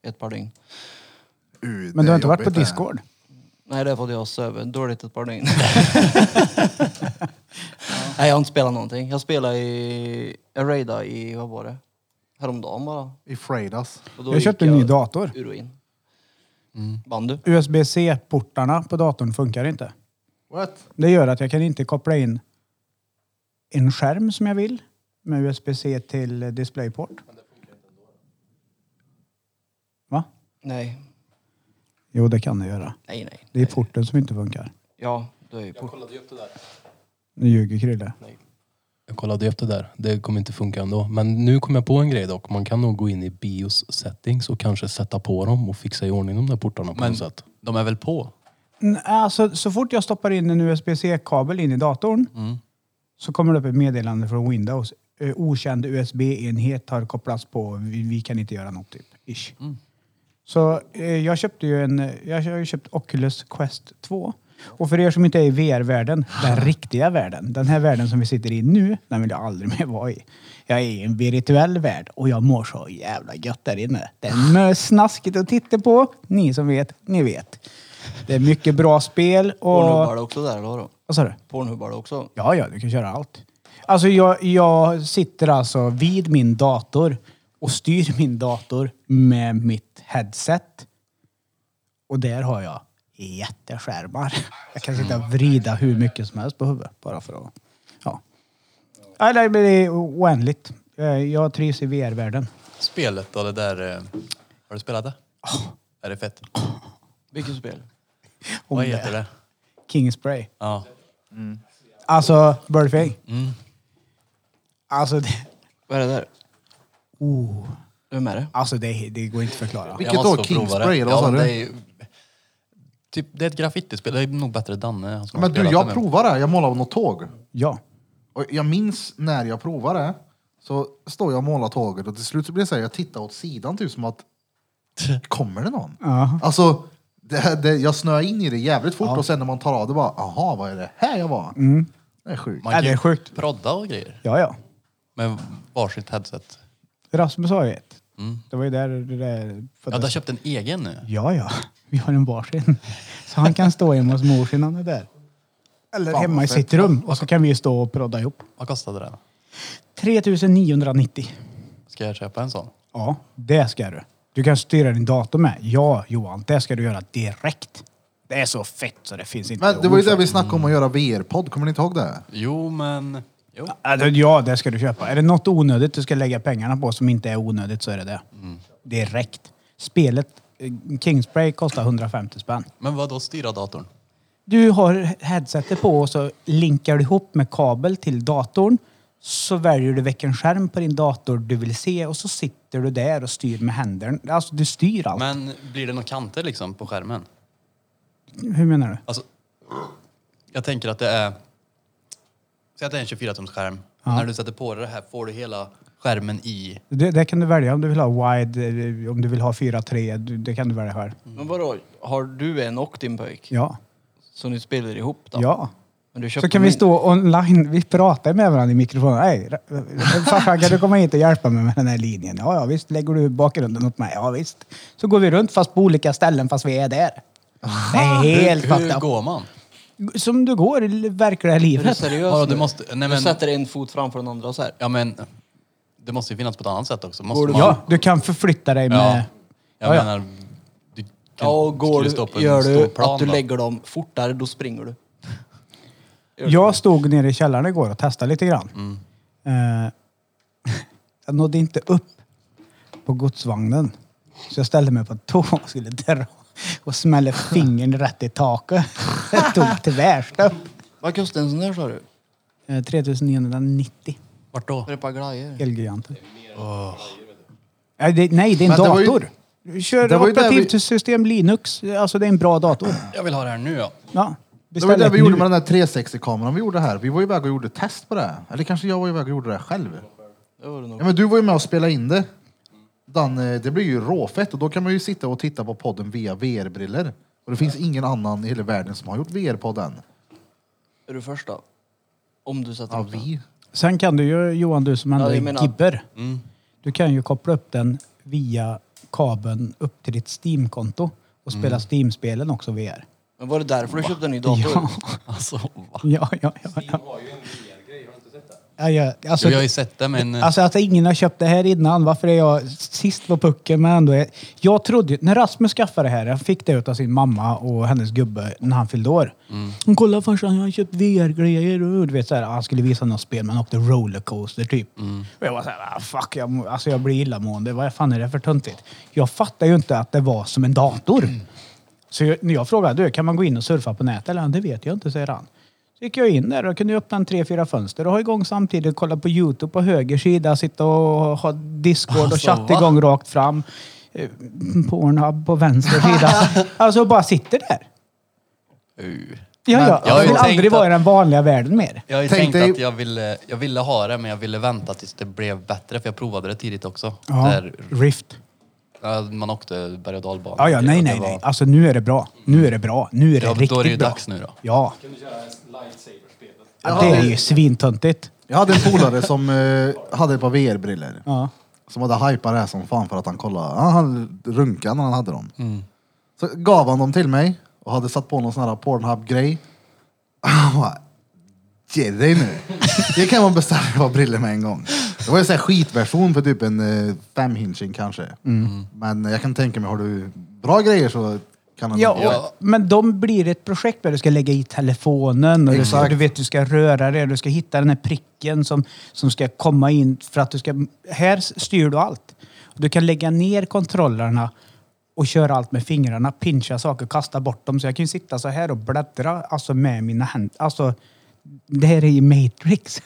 S1: Ett par dygn.
S3: Uh,
S4: Men du
S3: det är
S4: har inte varit på
S3: jobbigt det här.
S4: Discord?
S1: Nej, det är för att jag sover dåligt ett par dygn. Nej, jag har inte spelat någonting. Jag spelade i... Jag raidade i, vad var det? Häromdagen bara.
S3: I fredags.
S1: Och då
S4: Jag
S1: gick
S4: köpte en ny dator.
S1: Ur och in.
S2: Mm.
S1: Bandu.
S4: USB-C-portarna på datorn funkar inte.
S3: What?
S4: Det gör att jag kan inte koppla in en skärm som jag vill med USB-C till eh, DisplayPort. Va?
S1: Nej.
S4: Jo, det kan det göra.
S1: Nej, nej.
S4: Det är porten som inte funkar.
S1: Ja, du är ju på.
S5: kollade upp det där.
S4: Nu ljuger Krille.
S5: Jag kollade upp det där. Det kommer inte funka ändå. Men nu kom jag på en grej dock. Man kan nog gå in i bios settings och kanske sätta på dem och fixa i ordning de där portarna på
S2: Men
S5: något sätt.
S2: de är väl på?
S4: N- Alltså, så fort jag stoppar in en USB-C-kabel in i datorn
S1: Mm.
S4: så kommer det upp ett meddelande från Windows. Eh, Okänd USB-enhet har kopplats på. Vi, vi kan inte göra något, typ. Ish. Så eh, jag köpte ju en... eh, Jag har ju köpt Oculus Quest 2. Och för er som inte är i VR-världen, den riktiga världen, den här världen som vi sitter i nu, den vill jag aldrig mer vara i. Jag är i en virtuell värld och jag mår så jävla gött där inne. Det är mö- snaskigt att titta på. Ni som vet, ni vet. Det är mycket bra spel och...
S1: Pornhub har det också där, eller vadå?
S4: Vad sa du?
S1: Pornhub har det också.
S4: Ja, ja, du kan köra allt. Alltså jag, jag sitter alltså vid min dator och styr min dator med mitt headset. Och där har jag jätteskärmar. Jag kan sitta och vrida hur mycket som helst på huvudet bara för att... Ja. Nej, nej, men det är oändligt. Eh, Jag trivs i VR-världen.
S2: Spelet då, det där... eh, Har du spelat det?
S3: Oh.
S2: Är det fett?
S1: Vilket spel?
S4: Om
S2: Vad heter det?
S4: Kingspray.
S2: Ja.
S4: Alltså, Birdfing. Alltså, det,
S1: Vad är det där?
S4: oh,
S1: Vem är det?
S4: alltså det, det går inte att förklara.
S3: Vilket då? Kingspray, eller vad sa
S2: vad
S3: du?
S2: det? är ju- Typ, det är ett graffitispel. Det är nog bättre Danne. han som har
S3: Men du,
S2: spelat
S3: jag
S2: det,
S3: provade det. Jag målade något tåg.
S4: Ja.
S3: Och jag minns när jag provade det. Så står jag och målar tåget och till slut så blir det så här, jag tittar åt sidan typ som att kommer det någon?
S4: Ja.
S3: Alltså, det, det, jag snöar in i det jävligt fort och sen när man tar av det bara, aha, vad är det här jag var?
S4: Mm.
S3: Det är sjukt.
S2: Man
S4: Ja,
S2: kan
S4: det är
S2: ju
S4: sjukt.
S2: prodda och grejer.
S4: Ja, ja.
S2: Med varsitt headset.
S4: Rasmus har ju ett. Det var ju där det där
S2: Ja, du har
S4: föddes.
S2: köpt en egen nu.
S4: Ja, ja. Vi har en varsin. Så han kan stå hemma hos mor sin han är där. Eller
S3: Fan,
S4: hemma i
S3: vad fett.
S4: sitt rum. Och så kan vi ju stå och prodda ihop.
S2: Vad kostade det?
S4: 3990.
S2: Ska jag köpa en sån?
S4: Ja, det ska du. Du kan styra din dator med. Ja, Johan. Det ska du göra direkt. Det är så fett så det finns inte
S3: Men det var ju
S4: ord för
S3: det vi snackade om att göra VR-podd, kommer ni inte ihåg det?
S2: Jo, men... Jo.
S4: Alltså, ja, det ska du köpa. Är det något onödigt du ska lägga pengarna på som inte är onödigt så är det det. Direkt. Spelet eh, Kingspray kostar 150 spänn.
S2: Men vad då styra datorn?
S4: Du har headsetet på och så linkar du ihop med kabel till datorn. Så väljer du vilken skärm på din dator du vill se och så sitter du där och styr med händerna. Alltså du styr allt.
S2: Men blir det några kanter liksom på skärmen?
S4: Hur menar du?
S2: Alltså, jag tänker att det är... Säg att det är en 24-tumsskärm. När du sätter på dig det här får du hela skärmen i...
S4: Det, det kan du välja om du vill ha wide, eh, om du vill ha 4-3. du- Det kan du välja själv.
S1: Men vadå, har du en och din pojk?
S4: Ja.
S1: Så ni spelar ihop då?
S4: Ja.
S1: Men du köpte
S4: Så kan vi
S1: min-
S4: stå online, vi pratar med varandra i mikrofonen. Hej, farsan kan du komma hit och hjälpa mig med den här linjen? Ja, ja visst. Lägger du bakgrunden åt mig? Ja, visst. Så går vi runt fast på olika ställen fast vi är där. Det är helt
S2: hur, hur
S4: fucked up.
S2: går man?
S4: Som du går i verkliga
S1: Är du
S4: livet.
S1: seriös
S2: Vadå, du
S1: nu?
S2: måste- nej,
S1: Du
S2: men-
S1: sätter en fot framför den andra så här.
S2: Ja, men det måste ju finnas på ett annat sätt också. Måste
S1: Går du-
S2: man,
S4: Ja, du kan förflytta dig
S2: Ja.
S4: med...
S2: Jag
S4: Ja, ja.
S2: menar, du kan,
S1: Ja, och går
S2: skulle
S1: du,
S2: stå på en
S1: gör
S2: stor
S1: du
S2: plan
S1: att du
S2: då.
S1: lägger dem fortare, då springer du.
S4: Jag stod nere i källaren igår och testade lite grann.
S3: Mm.
S4: Eh, jag nådde inte upp på godsvagnen. Så jag ställde mig på tå och skulle dra och smällde fingern rätt i taket. Det tog tvärs upp.
S1: Vad kostar en sån där sa du?
S4: Eh, 3990
S2: Vart då?
S1: För ett par glajjor?
S4: Elgiganten. Nej, det, nej, det är en
S3: Men det var ju-
S4: dator. Kör
S3: det var ju där vi-
S4: operativsystem Linux. Alltså det är en bra dator.
S2: Jag vill ha det här nu ja.
S4: Ja,
S3: Det var ju
S4: beställ
S3: det
S4: ett
S3: vi gjorde
S4: nu.
S3: med den här 360-kameran vi gjorde här. Vi var ju iväg och gjorde test på det. här. Eller kanske jag var iväg och gjorde det här själv.
S1: Det var det nog.
S3: Ja, men du var ju med och spelade in det. Dan, eh, det blir ju råfett och då kan man ju sitta och titta på podden via VR-briller. Och det finns ingen annan i hela världen som har gjort VR-podden.
S1: Är du först då? Om du sätter
S3: Ja,
S1: upp den.
S3: vi.
S4: Sen kan du ju, Johan, du som ändå
S1: Ja, jag
S4: är
S1: menar-
S4: gibber.
S6: Mm.
S4: Du kan ju koppla upp den via kabeln upp till ditt Steam-konto och
S6: Mm.
S4: spela Steam-spelen också VR.
S1: Men var det därför du köpte en ny dator?
S4: Ja,
S2: Alltså, va?
S4: ja, ja. ja, ja.
S6: har ju en VR-grej, har du inte sett det?
S4: ja, ja. Alltså,
S2: Jo, jag har ju sett det men... eh,
S4: Alltså att ingen har köpt det här innan. Varför är jag sist på pucken men ändå är... Jag trodde ju- när Rasmus skaffade det här, jag fick det av sin mamma och hennes gubbe när han fyllde år. Hon kollade farsan, jag har köpt VR-grejer och du vet såhär, han skulle visa något spel men åkte rollercoaster typ. Och jag var såhär, ah, fuck, jag, må- alltså, jag blir illamående. Vad fan är det för töntigt? Jag fattar ju inte att det var som en dator. Så jag, när jag frågade, du, kan man gå in och surfa på nätet? Eller han, det vet jag inte, säger han. Så gick jag in där och kunde ju öppna en tre, fyra fönster och ha igång samtidigt, kolla på Youtube på höger sida, sitta och ha Discord och
S2: Alltså,
S4: chatt
S2: va?
S4: igång rakt fram. Eh, Pornhub på vänster sida. alltså bara sitter där.
S2: Uh.
S4: Ja,
S3: Men-
S4: ja.
S2: Jag har
S4: Jag
S2: ju
S4: vill
S2: tänkt
S4: aldrig vara i
S2: att-
S4: den vanliga världen mer.
S2: Jag har ju
S3: Tänk
S2: tänkt
S3: dig-
S2: att jag ville, jag ville ha det men jag ville vänta tills det blev bättre för jag provade det tidigt också.
S4: Ja,
S2: Där,
S4: Rift.
S2: ja, man åkte berg och dalbana.
S4: Ja, ja, nej,
S2: Det
S4: nej,
S2: var-
S4: nej. Alltså nu är det bra. Nu är det bra. Nu är det
S2: Ja,
S4: riktigt bra.
S2: då är det ju dags nu då.
S4: Ja.
S6: Kan du köra lightsaber-spelet?
S4: ja det är ju svintöntigt.
S3: Jag hade en polare som eh, hade ett par VR-briller.
S4: Ja.
S3: Som hade hypat det här som fan för att han kollade. Han hade runkat när han hade dem.
S4: Mm.
S3: Så gav han dem till mig och hade satt på någon sån här Pornhub-grej. Han bara, Ge dig nu. Det kan man beställa ett par briller med en gång. Det var ju en skitversion för typ en eh, femhinching kanske.
S4: Mm.
S3: Men jag kan tänka mig, har du bra grejer så kan han
S4: Ja,
S2: Ja.
S4: och, men de blir ett projekt där du ska lägga i telefonen och du,
S3: Exakt.
S4: du vet, du ska röra dig, du ska hitta den här pricken som, som ska komma in för att du ska... Här styr du allt. Du kan lägga ner kontrollerna och köra allt med fingrarna, pincha saker, kasta bort dem. Så jag kan ju sitta så här och bläddra alltså med mina händer. Alltså, det här är ju Matrix.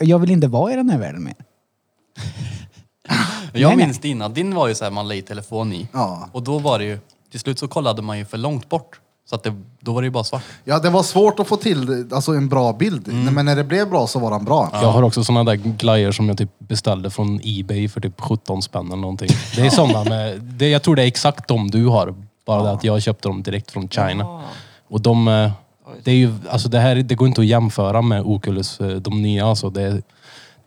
S4: jag vill inte vara i den här världen mer.
S2: Men Jag
S4: Nej, nej.
S2: minns det innan. Din var ju så här man la i telefon i.
S3: Ja.
S2: Och då var det ju, till slut så kollade man ju för långt bort. Så att det, då var det ju bara svart.
S3: Ja, det var svårt att få till alltså, en bra bild.
S4: Mm.
S3: Men när det blev bra så var den bra.
S5: Jag har också såna där glajjor som jag typ beställde från Ebay för typ 17 spänn eller någonting. Det är såna med, det, jag tror det är exakt de du har. Bara det att jag köpte dem direkt från China. Och de, eh, det är ju, alltså det här, det går inte att jämföra med Oculus, eh, de nya alltså. Det, är-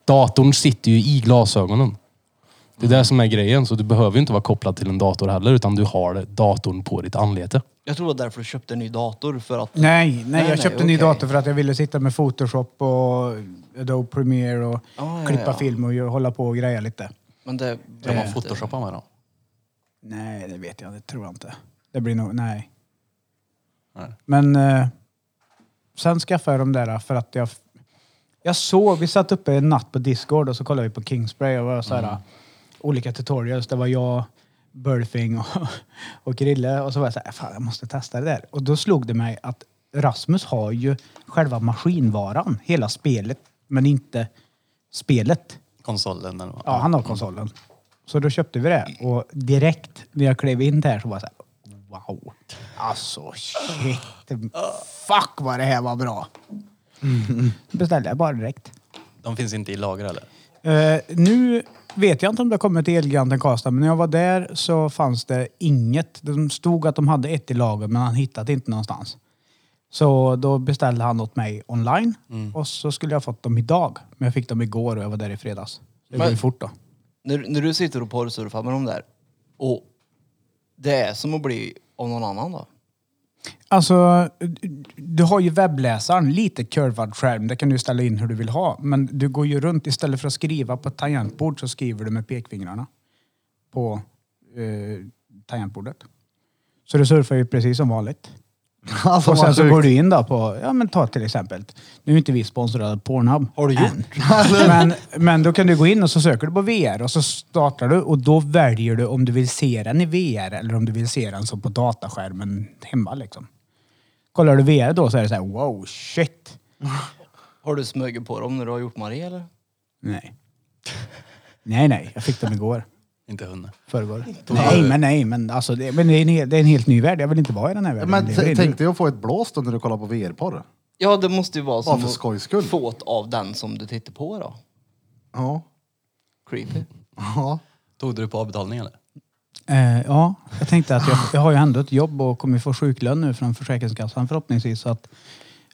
S5: datorn sitter ju i glasögonen. Det
S1: Mm.
S5: är det som är grejen, så du behöver ju inte vara kopplad till en dator heller, utan du har datorn på ditt anlete.
S1: Jag tror det var därför du köpte en ny dator, för att...
S4: Nej, nej,
S1: Nej,
S4: jag
S1: nej,
S4: köpte en ny
S1: okej.
S4: dator för att jag ville sitta med Photoshop och Adobe Premiere och
S1: Ah, ja,
S4: klippa
S1: ja.
S4: film och gö- hålla på och greja lite.
S1: Men det...
S2: Kan
S4: Eh,
S2: man photoshoppa med dem?
S4: Nej, det vet jag, det tror jag inte. Det blir nog, nej.
S2: Nej.
S4: Men eh, sen skaffade jag de där för att jag... Jag såg, vi satt uppe en natt på Discord och så kollade vi på Kingspray och var så här, eh, olika tutorials. Det var jag, Burfing och, och Grille och så var jag så här, fan jag måste testa det där. Och då slog det mig att Rasmus har ju själva maskinvaran, hela spelet, men inte spelet.
S2: Konsolen eller vad?
S4: Ja, han har konsolen. Så då köpte vi det och direkt när jag klev in där så var jag så här, wow. Alltså shit. Fuck vad det här var bra. Beställde jag bara direkt.
S2: De finns inte i lager eller?
S4: Eh, nu vet jag inte om det har kommit till Elgiganten Karlstad, men när jag var där så fanns det inget. De stod att de hade ett i lager, men han hittade inte någonstans. Så då beställde han åt mig online och så skulle jag ha fått dem idag. Men jag fick dem igår och jag var där i fredags. Det går
S1: Men-
S4: ju fort då.
S1: När, när du sitter och porrsurfar med dem där, och det är som att bli av någon annan då?
S4: Alltså, du har ju webbläsaren, lite kurvad skärm. Det kan du ställa in hur du vill ha. Men du går ju runt, istället för att skriva på ett tangentbord så skriver du med pekfingrarna på eh, tangentbordet. Så du surfar ju precis som vanligt.
S3: Alltså,
S4: och sen
S3: vad
S4: så
S3: sjukt.
S4: går du in då på, ja men ta till exempel, nu är inte vi sponsrade av Pornhub. Har du
S3: Alltså.
S4: gjort? men, men då kan du gå in och så söker du på VR och så startar du och då väljer du om du vill se den i VR eller om du vill se den som på dataskärmen hemma liksom. Kollar du VR då så är det så här, wow shit.
S1: Har du smugit på dem när du har gjort Marie eller?
S4: Nej. Nej, nej, jag fick dem igår.
S2: Inte hunnit.
S4: Förrgår. Nej, men nej, men alltså det, men det, är en, hel- det är en helt ny värld. Jag vill inte vara i den här världen.
S3: Men
S4: Det är
S3: t-
S4: väl-
S3: tänk dig att få ett blås då när du kollar på VR-porr.
S1: Ja, det måste ju vara
S3: Bara
S1: som
S3: för skojs skull.
S1: fått av den som du tittar på då.
S3: Ja.
S1: Creepy.
S3: ja.
S2: Tog du det på avbetalning eller?
S4: Eh, ja, jag tänkte att jag, jag har ju ändå ett jobb och kommer få sjuklön nu från Försäkringskassan förhoppningsvis. Så att,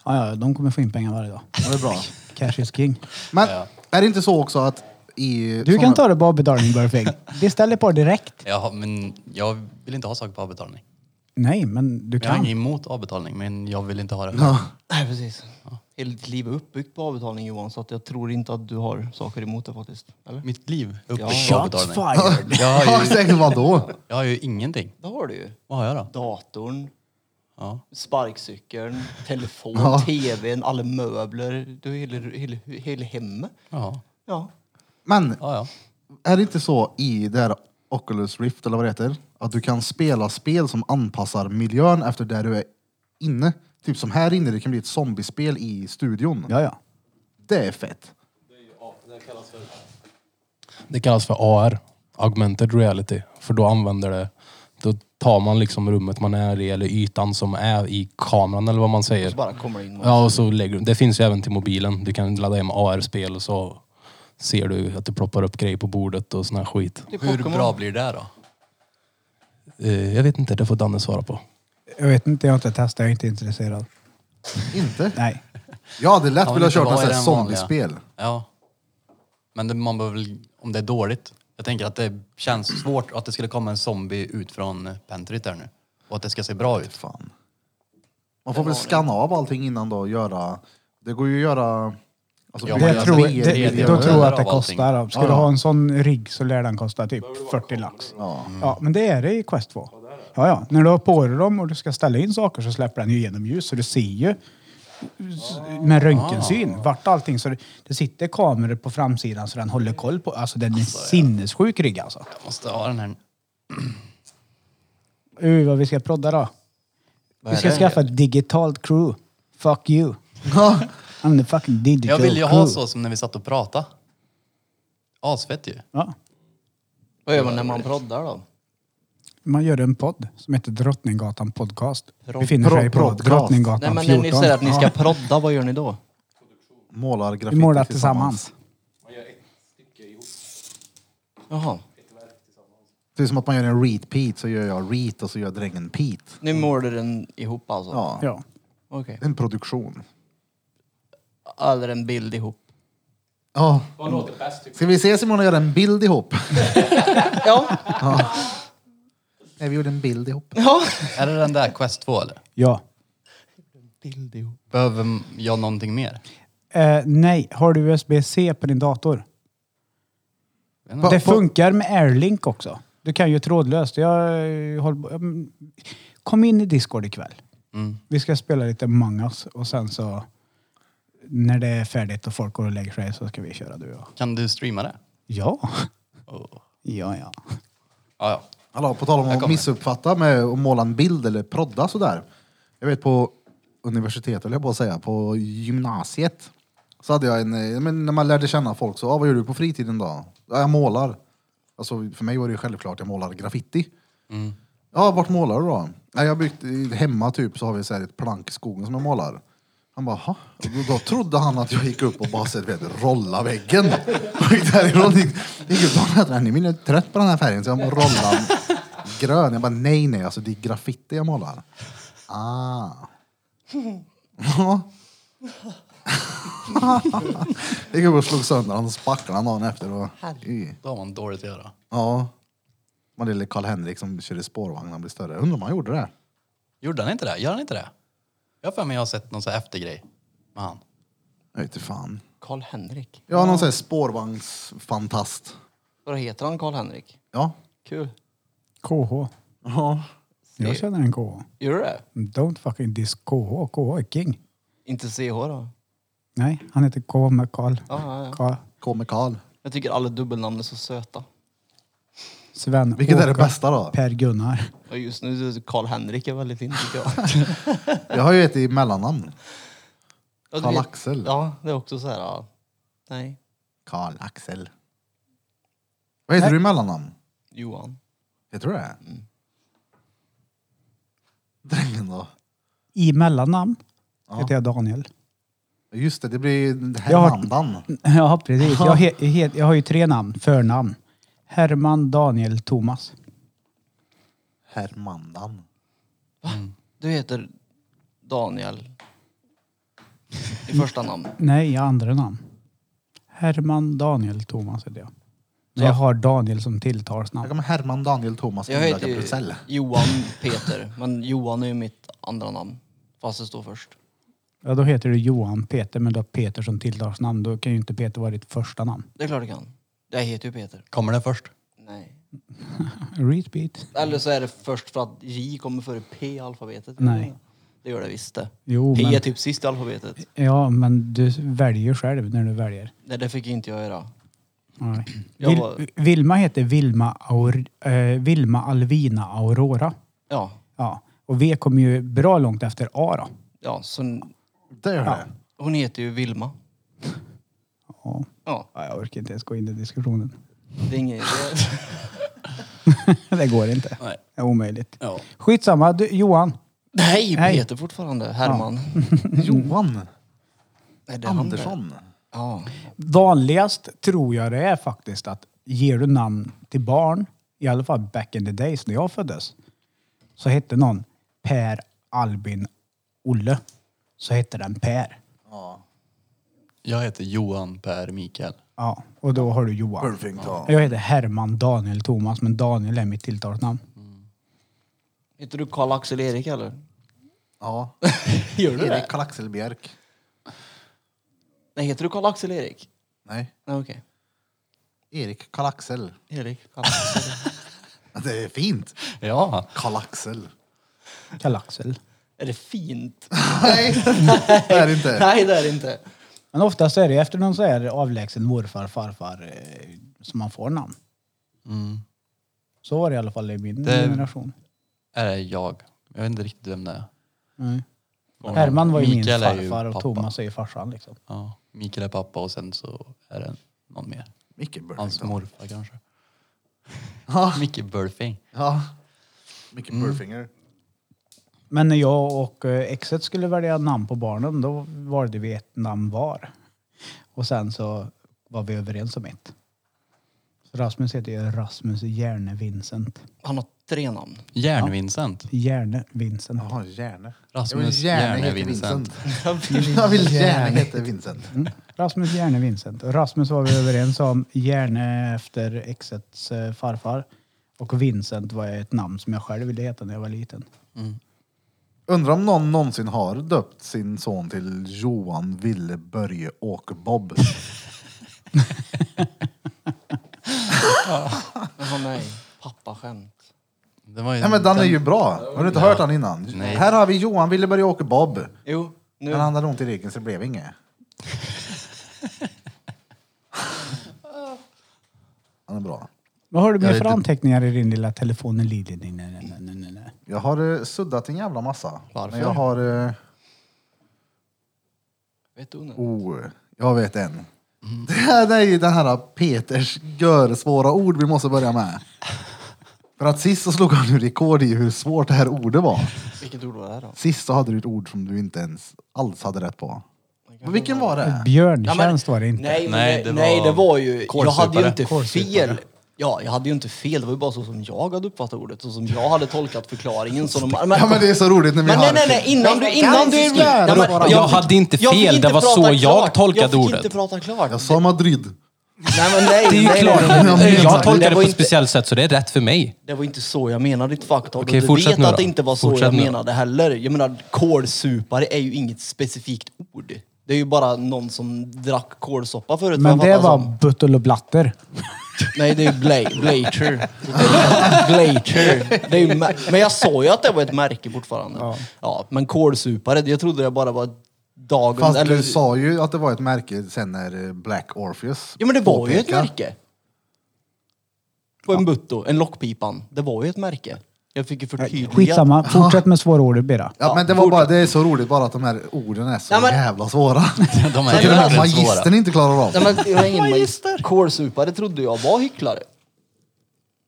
S4: ja, ja, de kommer få in pengar varje dag.
S3: Det är bra.
S4: Cash is king.
S3: Men är det inte så också att i...
S4: Du
S3: såna-
S4: kan ta det på avbetalning Burfing. Beställ det på direkt.
S2: Ja, men jag vill inte ha saker på avbetalning.
S4: Nej, men du
S2: Jag har
S4: kan.
S2: inget emot avbetalning, men jag vill inte ha det.
S3: Ja.
S1: Nej, precis. Hela ditt liv är uppbyggt på avbetalning Johan, så att jag tror inte att du har saker emot det faktiskt. Eller?
S2: Mitt liv är
S1: Ja.
S2: uppbyggt på
S4: Shots
S2: avbetalning.
S4: fired.
S2: Jag
S3: Ja,
S2: har, ju,
S3: exakt vadå?
S2: jag har ju ingenting.
S1: Det har du ju.
S2: Vad har jag då?
S1: Datorn,
S2: Ja.
S1: sparkcykeln, telefon, tvn, alla möbler. Du har hela, hela, hela hemmet.
S2: Ja.
S1: Ja.
S3: Men
S2: Ja, ja.
S3: är det inte så i det här Oculus Rift eller vad det heter? Att du kan spela spel som anpassar miljön efter där du är inne. Typ som här inne, det kan bli ett zombiespel i studion.
S4: Ja, ja.
S3: Det är fett.
S5: Det kallas för AR, augmented reality. För då använder det, då tar man liksom rummet man är i eller ytan som är i kameran eller vad man säger.
S1: Så bara kommer det in.
S5: Ja, och så lägger du, det finns ju även till mobilen. Du kan ladda hem AR-spel och så ser du att det ploppar upp grejer på bordet och sån här skit.
S1: Det är
S2: Hur
S1: Pokémon.
S2: bra blir det då?
S5: Eh, Jag vet inte, det får Danne svara på.
S4: Jag vet inte, jag har inte testat. Jag är inte intresserad.
S3: Inte?
S4: Nej.
S3: Ja, det är lätt
S2: Ja,
S3: att
S2: men
S3: vilja
S2: inte
S3: köra
S2: vara
S3: något
S2: i
S3: sånt här
S2: den vanliga.
S3: zombiespel.
S2: Ja. Men det, man behöver väl, om det är dåligt. Jag tänker att det känns svårt att det skulle komma en zombie ut från eh, pentryt där nu. Och att det ska se bra ut.
S3: Fan. Man får väl skanna av allting innan då och göra... Det går ju att göra... Alltså,
S2: Ja,
S3: bygga
S2: men
S4: Det
S2: jag
S4: tror,
S2: tre-
S3: miljöer.
S4: det,
S2: tre-
S4: då tror jag att det
S2: av allting.
S4: kostar. Ska
S3: Ja,
S4: du
S3: ja.
S4: ha en sån rigg så lär den kosta typ 40 lax.
S3: Ja.
S4: Mm. Ja, men det är det i Quest 2. Ja, ja. När du har på dig dem och du ska ställa in saker så släpper den ju igenom ljus så du ser ju s- med röntgensyn vart allting. Så det, det sitter kameror på framsidan så den håller koll på. Alltså den är sinnessjuk rigg alltså.
S2: Jag måste ha den här.
S4: Uh, vad vi ska prodda då. Vi ska skaffa ett digitalt crew. Fuck you. I'm the fucking digital
S2: Jag vill ju
S4: crew.
S2: ha så som när vi satt och pratade. Asfett ju.
S4: Ja.
S1: Vad gör man när man proddar då?
S4: Man gör en podd som heter Drottninggatan podcast.
S1: Prod-
S4: Befinner sig på
S3: podcast.
S1: Nej
S4: Drottninggatan
S1: men
S4: 14.
S1: när ni säger att ni ska
S4: Ja.
S1: prodda, vad gör ni då?
S3: Målar graffiti
S4: Vi målar tillsammans.
S6: Man gör ett stycke ihop,
S1: Jaha.
S6: ett verk tillsammans.
S3: Det är som att man gör en reat-peat, så gör jag reat och så gör drängen peat.
S1: Ni målar den ihop alltså?
S3: Ja.
S4: Ja.
S1: Okej.
S3: En produktion.
S1: Eller en bild ihop?
S3: Ja.
S6: Vad låter bäst tycker
S3: Ska vi ses imorgon och göra en bild ihop?
S1: Ja.
S3: Nej, vi gjorde en bild ihop.
S1: ja.
S2: Är det den där Quest 2 eller?
S4: ja.
S1: Bild ihop.
S2: Behöver jag någonting mer?
S4: Eh, nej, har du USB-C på din dator?
S2: Va-
S4: det funkar med AirLink också. Du kan ju trådlöst. Jag eh, håller, på- mm, kom in i Discord ikväll.
S2: Mm.
S4: Vi ska spela lite Among Us och sen så när det är färdigt och folk går och lägger sig så ska vi köra du och jag.
S2: Kan du streama det?
S4: Ja.
S2: Oh.
S4: Ja,
S2: Ja,
S4: ja.
S2: ja.
S3: Hallå, på tal om
S2: Här
S3: att
S2: kommer.
S3: missuppfatta med att måla en bild eller prodda sådär. Jag vet på universitetet, eller jag på att säga, på gymnasiet. Så hade jag en, eh, men när man lärde känna folk så, ah, vad gör du på fritiden då? Ja, jag målar. Alltså för mig var det ju självklart, jag målar graffiti. Ja, vart målar du då? Ja, jag har byggt, i- hemma typ så har vi så här ett plank i skogen som jag målar. Han bara, "Ha?" och då, då trodde han att jag gick upp och bara så här, du vet, rolla väggen. Och gick därifrån, gick, gick upp och sa, ni är trött på den här färgen så jag rollar grön. Jag bara, nej nej, alltså det är graffiti jag målar. Ah. Ja. Jag gick upp och slog sönder hans spacklar dagen efter. Och, i.
S2: Då har man dåligt att göra.
S3: ja. Man lille Karl-Henrik som körde spårvagn när han blev större. Undrar om han gjorde det.
S2: Gjorde han inte det? Gör han inte det? Jag har för mig jag har sett någon sån här eftergrej med han.
S3: Jag vet inte fan.
S1: Karl-Henrik.
S3: Ja, någon sån här spårvagnsfantast.
S1: Vad heter han Karl-Henrik?
S3: Ja.
S1: Kul.
S4: KH.
S3: Ja.
S4: Jag känner en KH.
S1: Gör du det?
S4: Don't fucking diss KH. KH är king.
S1: Inte CH då?
S4: Nej, han heter KH med Karl.
S1: Ja, ja, ja.
S4: Karl.
S3: Kommer Karl.
S1: Jag tycker alla dubbelnamn är så söta.
S4: Sven
S3: Vilket är det
S4: Åke,
S3: bästa då?
S4: Per-Gunnar.
S1: Och just nu så Karl-Henrik är väldigt fint tycker jag.
S3: Jag har ju ett i mellannamn.
S1: Ja, du vet-
S3: Karl-Axel.
S1: Ja, det är också så här. Ja. Nej,
S3: Karl-Axel. Vad heter du i mellannamn?
S1: Johan.
S3: Heter du det? Drängen då?
S4: I mellannamn
S3: Ja.
S4: heter jag Daniel.
S3: Just det, det blir
S4: Jag har-
S3: Hernandan.
S4: Ja, precis. Jag, he, he, jag har ju tre namn, förnamn. Herman, Daniel, Thomas.
S3: Hermandan.
S1: Du heter Daniel i första namn.
S4: Nej, jag har andra namn. Herman, Daniel, Thomas heter jag. Men jag har Daniel som
S3: Här
S4: tilltalsnamn.
S3: kommer Herman Daniel Thomas
S1: Jag
S3: Gunilla
S1: heter ju
S3: Gabrielsell.
S1: Johan Peter, men Johan är ju mitt andra namn. Fast det står först.
S4: Ja, då heter du Johan Peter, men du har Peter som tilltalsnamn. Då kan ju inte Peter vara ditt första namn.
S1: Det är klart det kan. Jag heter ju Peter.
S2: Kommer det först?
S1: Nej.
S4: Repeat.
S1: Eller så är det först för att J kommer före P i alfabetet.
S4: Nej.
S1: Det gör det visst det.
S4: Jo,
S1: P är
S4: men,
S1: typ sist i alfabetet.
S4: ja, men du väljer ju själv när du väljer.
S1: Nej, det fick inte jag göra.
S4: Nej.
S1: Jag
S4: Vil,
S1: var-
S4: Vilma heter Vilma, Aur, eh, Vilma Alvina Aurora.
S1: Ja,
S4: Ja. Och V kommer ju bra långt efter A då.
S1: ja så n-
S3: Det gör det.
S1: hon heter ju Vilma.
S4: Ja.
S1: Ja,
S4: Ja, Jag orkar inte ens gå in i diskussionen.
S1: det är inget... det-
S4: det går inte.
S2: Nej.
S4: Det är omöjligt.
S2: Ja.
S4: Skitsamma, du, Johan.
S1: Nej,
S4: Nej.
S1: Peter fortfarande. Herman.
S3: Johan
S1: Nej, det är han där.
S3: Andersson.
S1: Ja.
S4: Vanligast tror jag det är faktiskt att ger du namn till barn, i alla fall back in the days när jag föddes, så hette någon Per Albin Olle. Så hette den Per.
S2: Jag heter Johan Per Mikael.
S4: Ja, och då har du Johan.
S3: Perfekt. Ja.
S4: Jag heter Herman Daniel Thomas, men Daniel är mitt tilltalsnamn.
S1: Heter du Karl-Axel Erik eller?
S3: ja.
S1: Gör
S3: Erik Karl-Axel Björk.
S1: Nej, heter du Karl-Axel Erik?
S3: Nej,
S1: Nej, okej.
S3: Erik Karl-Axel.
S1: Erik. Karl-Axel.
S3: Det är fint.
S2: Ja.
S3: Karl-Axel.
S4: Kallaxel.
S1: är det fint?
S3: Nej, det är det inte.
S1: Nej, det är det inte.
S4: Men oftast är det efter någon så här avlägsen morfar, farfar eh, som man får namn.
S2: Mm.
S4: Så var det i alla fall i min
S2: Det-
S4: generation.
S2: Är det eh, jag? Jag vet inte riktigt vem det är.
S4: Mm.
S2: Men
S4: Herman var ju
S2: Mikael är
S4: min
S2: ju
S4: farfar och
S2: pappa.
S4: Thomas är ju farsan. Liksom.
S2: Ja. Mikael är pappa och sen så är det någon mer.
S3: Micke
S2: Hans
S3: Burfing.
S2: morfar kanske.
S3: Ja.
S2: Micke Burfing.
S3: Ja. Micke Burfinger.
S4: Men när jag och eh, exet skulle välja namn på barnen då valde vi ett namn var. Och sen så var vi överens om ett. Så Rasmus heter ju Rasmus Järne Vincent.
S1: Han har tre namn.
S2: Järn-Vincent.
S4: Järne Vincent.
S3: Jaha, Järne.
S2: Rasmus
S3: Jag vill gärna
S2: Järne
S3: heta
S2: Vincent.
S3: Vincent. Jag vill gärna heta Vincent.
S4: Mm. Rasmus Järne Vincent. Och Rasmus var vi överens om. Järne efter exets eh, farfar. Och Vincent var ett namn som jag själv ville heta när jag var liten.
S3: Undrar om någon någonsin har döpt sin son till Johan, Ville, Börje, Åke, Bob.
S1: Men han är pappaskämt.
S2: Det var ju
S3: Nej men den är ju bra. Har du inte hört han innan?
S2: Nej.
S3: Här har vi Johan, Ville, Börje, Åke, Bob.
S1: Jo, nu.
S3: Men han hade ont i ryggen så det blev inget. Han är bra.
S4: Vad har du
S2: Jag
S4: med
S2: vet
S4: för
S2: inte.
S4: anteckningar i din lilla telefon? Nej, nej, nej, nej, nej, nej.
S3: Jag har eh, suddat en jävla massa.
S1: Varför?
S3: Men jag har... eh,
S1: Vet du nu?
S3: Oh, jag vet en. Det här är ju den här eh, Peters görsvåra ord vi måste börja med. För att sist så slog han ju rekord i hur svårt det här ordet var.
S1: Vilket ord var det här då?
S3: Sist så hade du ett ord som du inte ens alls hade rätt på. Vilken var det?
S4: Björntjänst var det inte.
S1: Nej, men, nej,
S2: Nej, det
S1: det
S2: var
S1: nej, det var ju... Jag hade ju
S2: kålsupare.
S1: inte fel Ja, jag hade ju inte fel. Det var ju bara så som jag hade uppfattat ordet. Så som jag hade tolkat förklaringen. Som de, men,
S3: Ja men det är så roligt när vi
S1: men
S3: har...
S1: nej, nej, nej, innan du... Innan du
S3: Ja,
S1: Ja, men
S5: Jag hade inte
S1: jag fick
S5: fel, det var
S1: prata
S5: så jag
S1: klart.
S5: tolkade
S1: Jag fick
S5: ordet.
S1: inte prata
S3: Jag
S1: klart.
S3: sa Madrid.
S1: Nej, men nej,
S5: Det är ju
S1: nej,
S5: klart.
S1: nej, nej, nej.
S5: Jag tolkar
S1: Det var
S5: det på ett
S1: inte-
S5: speciellt sätt så det är rätt för mig.
S1: Det var inte så jag menade ditt faktag.
S5: Okej,
S1: du
S5: fortsätt
S1: vet
S5: nu
S1: att
S5: då.
S1: det inte var så
S5: Fortsätt
S1: jag
S5: nu då.
S1: menade heller. Jag menar, kolsupare är ju inget specifikt ord. Det är ju bara någon som drack kolsoppa förut.
S4: Men
S1: vad jag
S4: det
S1: fattar
S4: var
S1: som.
S4: buttel och blatter.
S1: Nej, det är ju bla- blater. blater. Det är ju mä- men jag sa ju att det var ett märke fortfarande. Ja. men kolsupare, jag trodde det bara var dagen...
S3: Fast
S1: eller-
S3: du sa ju att det var ett märke sen när eh, Black Orpheus
S1: Ja men det var ju ett
S3: påpekade.
S1: märke. På en butto, en lockpipan. Det var ju ett märke. Jag fick ju förtydliga.
S4: Skitsamma, fortsätt med svåra ord Bera.
S3: Ja, men det, var bara, det är så roligt bara att de här orden är så
S1: Ja, men-
S3: jävla svåra.
S2: De
S3: Så till och
S2: är
S3: med
S2: väldigt svåra.
S3: magistern inte klarar av.
S1: Nej, men, det var ingen magister. Kålsupare trodde jag var hycklare.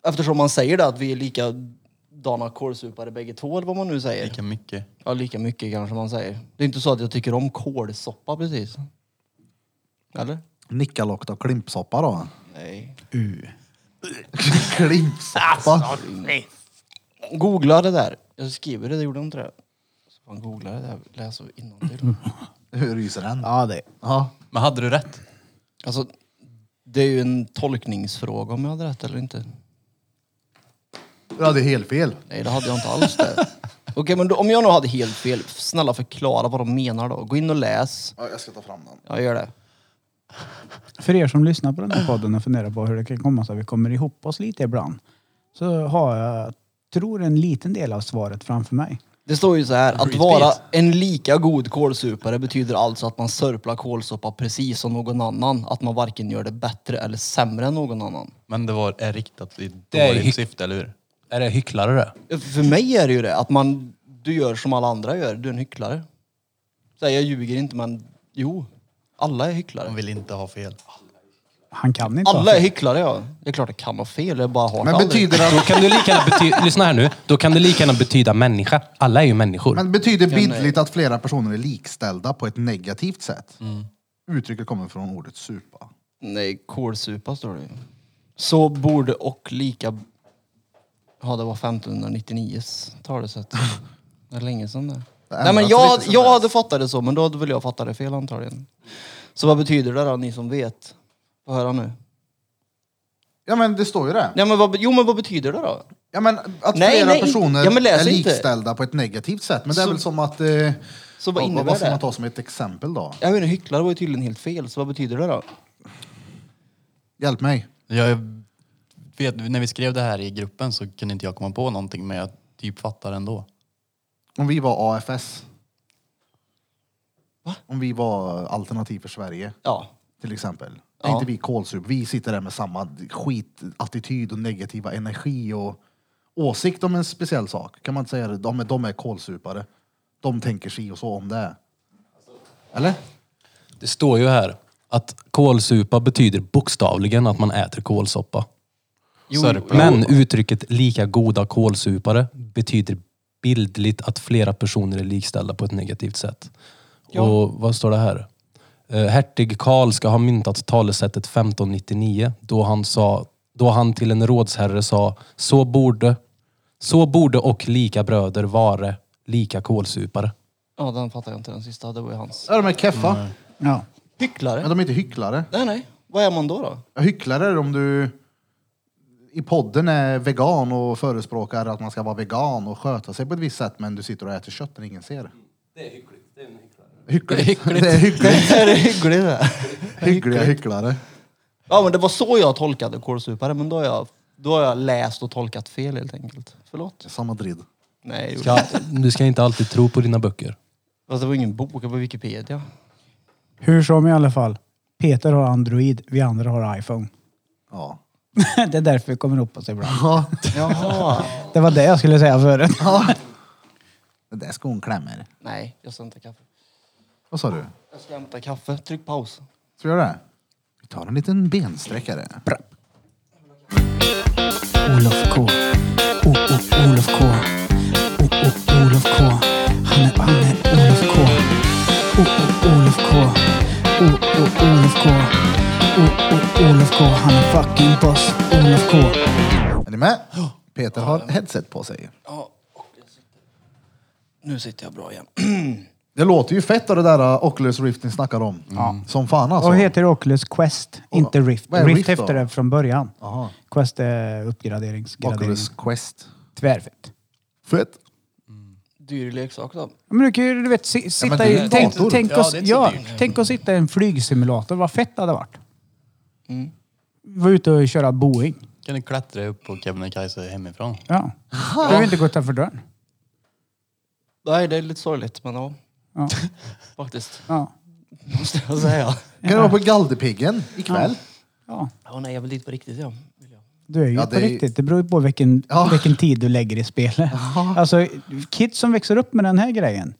S1: Eftersom man säger det att vi är likadana kålsupare bägge två, eller vad man nu säger.
S2: Lika mycket.
S1: Ja, lika mycket kanske man säger. Det är inte så att jag tycker om kålsoppa precis. Eller?
S3: Nickalockt och klimpsoppa då.
S1: Nej.
S3: klimpsoppa?
S1: Googla det där. Jag skriver det, det gjorde jag inte det. Så fan googla det där, läs innantill.
S3: Hur ryser den?
S4: Ja, det.
S3: Ja.
S2: Men hade du rätt?
S1: Alltså, det är ju en tolkningsfråga om jag hade rätt eller inte.
S3: ja, det är helt fel.
S1: Nej, det hade jag inte alls det. Okej, men då, om jag nu hade helt fel, snälla förklara vad de menar då. Gå in och läs.
S3: Ja, jag ska ta fram den.
S1: Ja, gör det.
S4: För er som lyssnar på den här podden och funderar på hur det kan komma sig att vi kommer ihop oss lite ibland. Så har jag, tror en liten del av svaret framför mig.
S1: Det står ju så här, att
S2: Repeat.
S1: vara en lika god kålsupare betyder alltså att man sörplar kålsoppa precis som någon annan. Att man varken gör det bättre eller sämre än någon annan.
S2: Men det var, är riktat i
S5: Det är hy-
S2: dåligt syfte, eller hur?
S5: Är det hycklare det?
S1: För mig är det ju det, att man, du gör som alla andra gör, du är en hycklare. Så här, jag ljuger inte men, jo. Alla är hycklare.
S2: De vill inte ha fel.
S4: Han kan inte
S1: Alla
S4: ha
S1: är
S4: fel.
S1: hycklare ja. Det är klart jag kan ha fel, jag bara har det
S3: Men
S1: aldrig.
S3: betyder, det
S5: Då
S3: att,
S5: kan det lika gärna bety- Lyssna här nu. Då kan det lika gärna betyda människa. Alla är ju människor.
S3: men betyder bildligt att flera personer är likställda på ett negativt sätt?
S1: Mm.
S3: Uttrycket kommer från ordet supa.
S1: Nej, kålsupa står det ju. Så borde och lika... Ja, det var 1599 talesätt. Det är länge sedan det. Nej, men
S3: ändrats
S1: jag,
S3: lite
S1: hade-
S3: sedan
S1: jag
S3: dess.
S1: hade fattat det så, men då hade väl jag fattat det fel antagligen. Så vad betyder det då, ni som vet? Få höra nu.
S3: Ja men det står ju det.
S1: Nej, men vad, jo, men vad betyder det då?
S3: Ja men att
S1: Nej,
S3: flera
S1: nej,
S3: personer
S1: ja, men läs
S3: är
S1: inte.
S3: likställda på ett negativt sätt. Men det är
S1: Så-
S3: väl som att... Eh,
S1: Så vad
S3: vad,
S1: innebär
S3: vad, vad får
S1: det?
S3: man ta som ett exempel då?
S1: Jag vet inte, hycklare var ju tydligen helt fel, så vad betyder det då?
S3: Hjälp mig.
S2: Jag vet, när vi skrev det här i gruppen så kunde inte jag komma på någonting men jag typ fattar ändå.
S3: Om vi var AFS. Om vi var Alternativ för Sverige
S1: Ja,
S3: till exempel.
S1: Ja.
S3: Är inte vi kolsup? Vi sitter där med samma skitattityd och negativa energi och åsikt om en speciell sak. Kan man inte säga det? De är, de är kolsupare. De tänker si och så om det. Eller?
S5: Det står ju här att kålsupa betyder bokstavligen att man äter kålsoppa.
S2: Sörpla.
S5: Men uttrycket lika goda kålsupare betyder bildligt att flera personer är likställda på ett negativt sätt. Och vad står det här? Eh, Hertig Karl ska ha myntat talesättet 1599 då han, sa, då han till en rådsherre sa så borde, så borde och lika bröder vare lika kålsupare.
S1: ja den fattar jag inte, den sista. Det var ju hans.
S3: Ja, de är keffa.
S4: Ja.
S3: Men
S1: Hycklare?
S3: de är inte hycklare.
S1: Nej, nej. Vad är man då då?
S3: Ja, Hycklare är om du i podden är vegan och förespråkar att man ska vara vegan och sköta sig på ett visst sätt men du sitter och äter kött när ingen ser. Det är hyckligt. Det är hyckligt.
S1: Det är hyggligt det.
S3: Hyggliga hycklare.
S1: Ja men det var så jag tolkade kålsupare, men då har jag, då har jag läst och tolkat fel helt enkelt. Förlåt.
S3: Samma dridd.
S1: Nej, det gjorde
S5: Ska,
S1: jag inte.
S5: du ska inte alltid tro på dina böcker.
S1: Fast det var ingen bok, det var Wikipedia.
S4: Hur som i alla fall. Peter har Android, vi andra har iPhone.
S3: Ja.
S4: det är därför vi kommer ihop oss ibland.
S1: Jaha.
S4: Det var det jag skulle säga förut.
S3: Det där skon klämmer.
S1: Nej, jag ska hämta kaffe.
S3: Vad sa du?
S1: Jag ska hämta kaffe. Tryck paus.
S3: Ska vi göra det? Vi tar en liten bensträckare.
S7: Olof K. O, o, Olof K. O, o, Olof K. Han är, han är Olof K. O, o, Olof K. O, o, Olof K. O, o, Olof K. K, han är fucking boss. Olof K.
S3: Är ni med? Peter har headset på sig.
S1: Ja, och jag sitter. Nu sitter jag bra igen.
S3: Det låter ju fett av det där uh, Oculus Rift ni snackar om. Som fan alltså.
S4: Och heter Oculus Quest, inte Rift.
S3: vad är
S4: Rift
S3: Rift då?
S4: efter det från början.
S3: Aha.
S4: Quest är uppgraderingsgradering.
S3: Oculus Quest.
S4: Tvärfett.
S3: Fett.
S1: Dyr leksak då.
S4: Men du kan ju du vet, si,
S3: men
S4: sitta
S3: det är
S4: i...
S3: en
S4: Tänk,
S3: dator.
S4: tänk,
S2: Ja,
S4: oss,
S2: det är inte så
S4: ja,
S2: dyrt.
S4: tänk att sitta i en flygsimulator. Vad fett det hade varit.
S3: Mm.
S4: Vara ute och köra Boeing.
S2: Kan du klättra upp på Kebnekaise hemifrån?
S4: Ja. Behöver inte gå utanför dörren.
S1: Nej, det är lite sorgligt, men ja.
S4: Ja.
S1: Faktiskt,
S4: Ja.
S1: måste jag säga.
S3: Kan du vara på Galdhöpiggen ikväll?
S4: ja.
S1: Ja, nej, jag vill dit på riktigt, ja. Vill jag.
S4: Du är ju
S3: Ja,
S4: på
S3: det är ju-
S4: riktigt. Det beror ju på vilken,
S3: Ja.
S4: vilken tid du lägger i spelet. Alltså, kids som växer upp med den här grejen.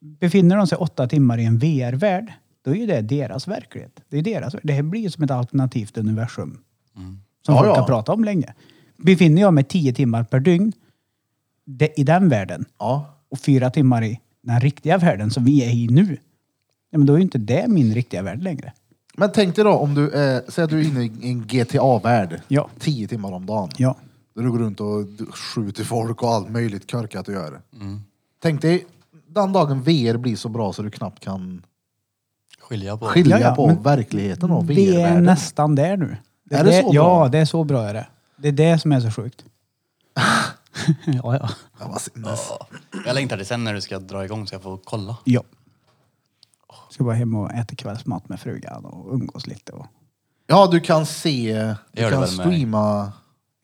S4: Befinner de sig åtta timmar i en VR-värld, då är ju det deras verklighet. Det, är deras, det här blir ju som ett alternativt universum. Som
S3: Mm. Ja,
S4: folk
S3: ja.
S4: har pratat om länge. Befinner jag mig tio timmar per dygn det, i den världen
S3: Ja.
S4: och fyra timmar i den riktiga världen som vi är i nu. Ja, men då är ju inte det min riktiga värld längre.
S3: Men tänk dig då om du, eh, säg att du är inne i en GTA-värld.
S4: Ja.
S3: Tio timmar om dagen.
S4: Ja.
S3: Där du går runt och d- skjuter folk och allt möjligt körkat du gör. Tänk dig den dagen VR blir så bra så du knappt kan
S2: Skilja på.
S3: skilja
S4: Ja, ja,
S3: på
S4: men
S3: verkligheten och
S4: Vi är
S3: VR-världen.
S4: nästan där nu.
S3: Är det så bra?
S4: Ja, det är så bra är det. Det är det som är så sjukt. ja, ja.
S3: Ja, vad sinnes.
S2: Jag längtar till sen när du ska dra igång så jag får kolla.
S4: ja. Ska bara hem och äta kvällsmat med frugan och umgås lite. Och...
S3: ja, du kan se,
S2: gör
S3: du
S2: det
S3: kan
S2: väl med mig.
S3: streama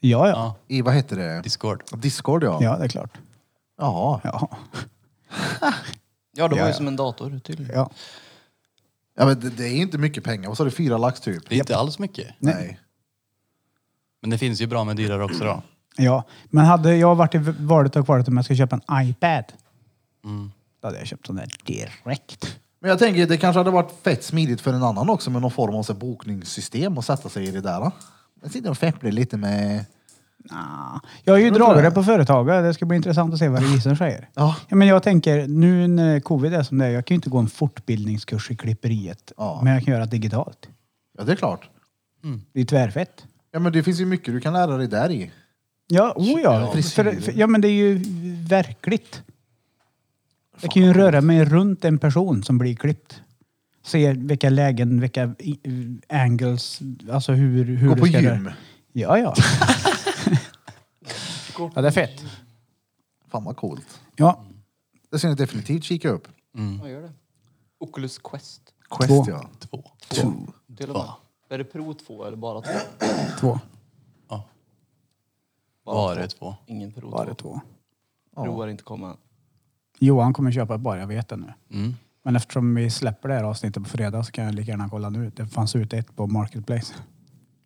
S4: Ja, ja.
S2: Ja.
S3: i, vad heter det?
S2: Discord.
S3: Discord ja.
S4: Ja, det är klart.
S3: Jaha.
S4: Ja.
S1: Ja, det var
S4: Ja,
S1: ju
S4: ja.
S1: som en dator tydligen.
S4: ja.
S3: Ja, men det, det är inte mycket pengar. Vad sa du, fyra lax typ?
S2: Det är inte alls mycket.
S3: Nej.
S2: Men det finns ju bra med dyrare också då.
S4: Ja, men hade jag varit i valet och kvalet om jag ska köpa en iPad.
S3: Mm.
S4: Då hade jag köpt den där direkt.
S3: Men jag tänker, det kanske hade varit fett smidigt för en annan också med någon form av så här, bokningssystem och sätta sig i det där. då. Jag sitter och fepplar lite med...
S4: Nah. Jag är ju
S3: Tror du
S4: dragare
S3: det?
S4: på företaget. Det ska bli intressant att se vad revisorn säger.
S3: Ja.
S4: Ja, men jag tänker, nu när covid är som det är, jag kan ju inte gå en fortbildningskurs i klipperiet.
S3: Ja.
S4: Men jag kan göra det digitalt.
S3: Ja, det är klart.
S4: Det är tvärfett.
S3: Ja, men det finns ju mycket du kan lära dig där i.
S4: Ja, oh ja.
S3: frisyrer.
S4: För, för, ja, men det är ju verkligt. Jag kan ju röra mig runt en person som blir klippt. Se vilka lägen, vilka i- angles, alltså hur, hur
S3: Gå
S4: du
S3: på
S4: ska
S3: gym.
S4: röra- Ja, ja. ja, det är fett.
S3: Fan vad coolt.
S4: Ja,
S3: Det ska ni definitivt kika upp.
S1: Vad gör det? Oculus Quest.
S3: Quest
S4: Två.
S3: ja.
S2: Två.
S1: Till och med. Är det Pro 2 eller bara 2?
S4: två.
S2: Var det två?
S1: Ingen Pro 2.
S4: Bara två.
S1: Pro har inte kommit än.
S4: Johan kommer köpa ett bara, jag vet det nu.
S2: Mm.
S4: Men eftersom vi släpper det här avsnittet på fredag så kan jag lika gärna kolla nu. Det fanns ute ett på Marketplace.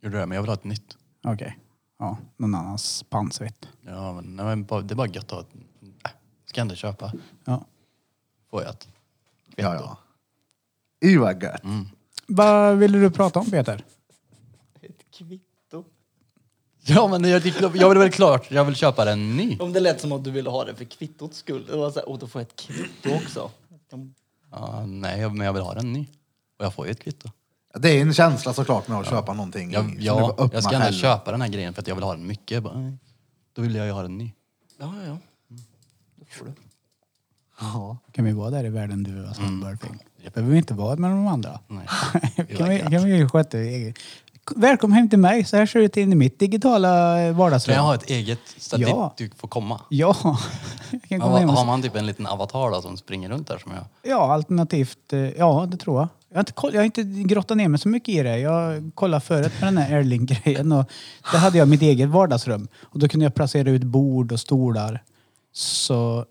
S2: Gjorde det, men jag vill ha ett nytt.
S4: Okej. Ja, någon annans pansvett.
S2: Ja, men, nej, men bara- det är bara gött att ha ett... Äh, ska jag inte köpa.
S4: Ja.
S2: Får jag ett.
S3: Ja, ja. Ey, vad gött.
S2: Mm.
S4: Vad ville du prata om Peter?
S1: Ett kvitto.
S2: Ja, men jag, jag vill väl klart, jag vill köpa en ny.
S1: Om det lät som att du ville ha det för kvittots skull. Det var så här, och då får jag ett kvitto också.
S2: Ja, nej, men jag vill ha en ny. Och jag får ju ett kvitto.
S3: Det är en känsla såklart med att köpa någonting.
S2: Jag,
S3: som Mm. du
S2: ja,
S3: får öppna
S2: jag ska gärna
S3: själv.
S2: köpa den här grejen för att jag vill ha den mycket. Jag Bara, nej, då vill jag ju ha den ny.
S1: Ja, ja, ja. Då får du.
S3: Ja.
S4: Kan vi vara där i världen du och
S2: Mm.
S4: Sandburping? Det behöver vi inte vara med de andra.
S2: Nej.
S4: kan, vi, kan vi ju sköta det eget? Välkommen hem till mig. Så här ser det ut in i mitt digitala eh,
S2: Kan
S4: vardagsrum.
S2: jag ha ett eget stativ?
S4: Ja.
S2: Du får komma.
S4: Ja. Jag kan
S2: Men
S4: komma
S2: vad-
S4: hem och...
S2: har
S4: s-
S2: man typ en liten avatar då, som springer runt där som jag?
S4: Ja, alternativt. eh, Ja, det tror jag. Jag har, inte, koll- jag har inte grottat ner mig så mycket i det. Jag kollade förut med den här Airlink-grejen. och Där hade jag mitt eget vardagsrum. Och då kunde jag placera ut bord och stolar. Så...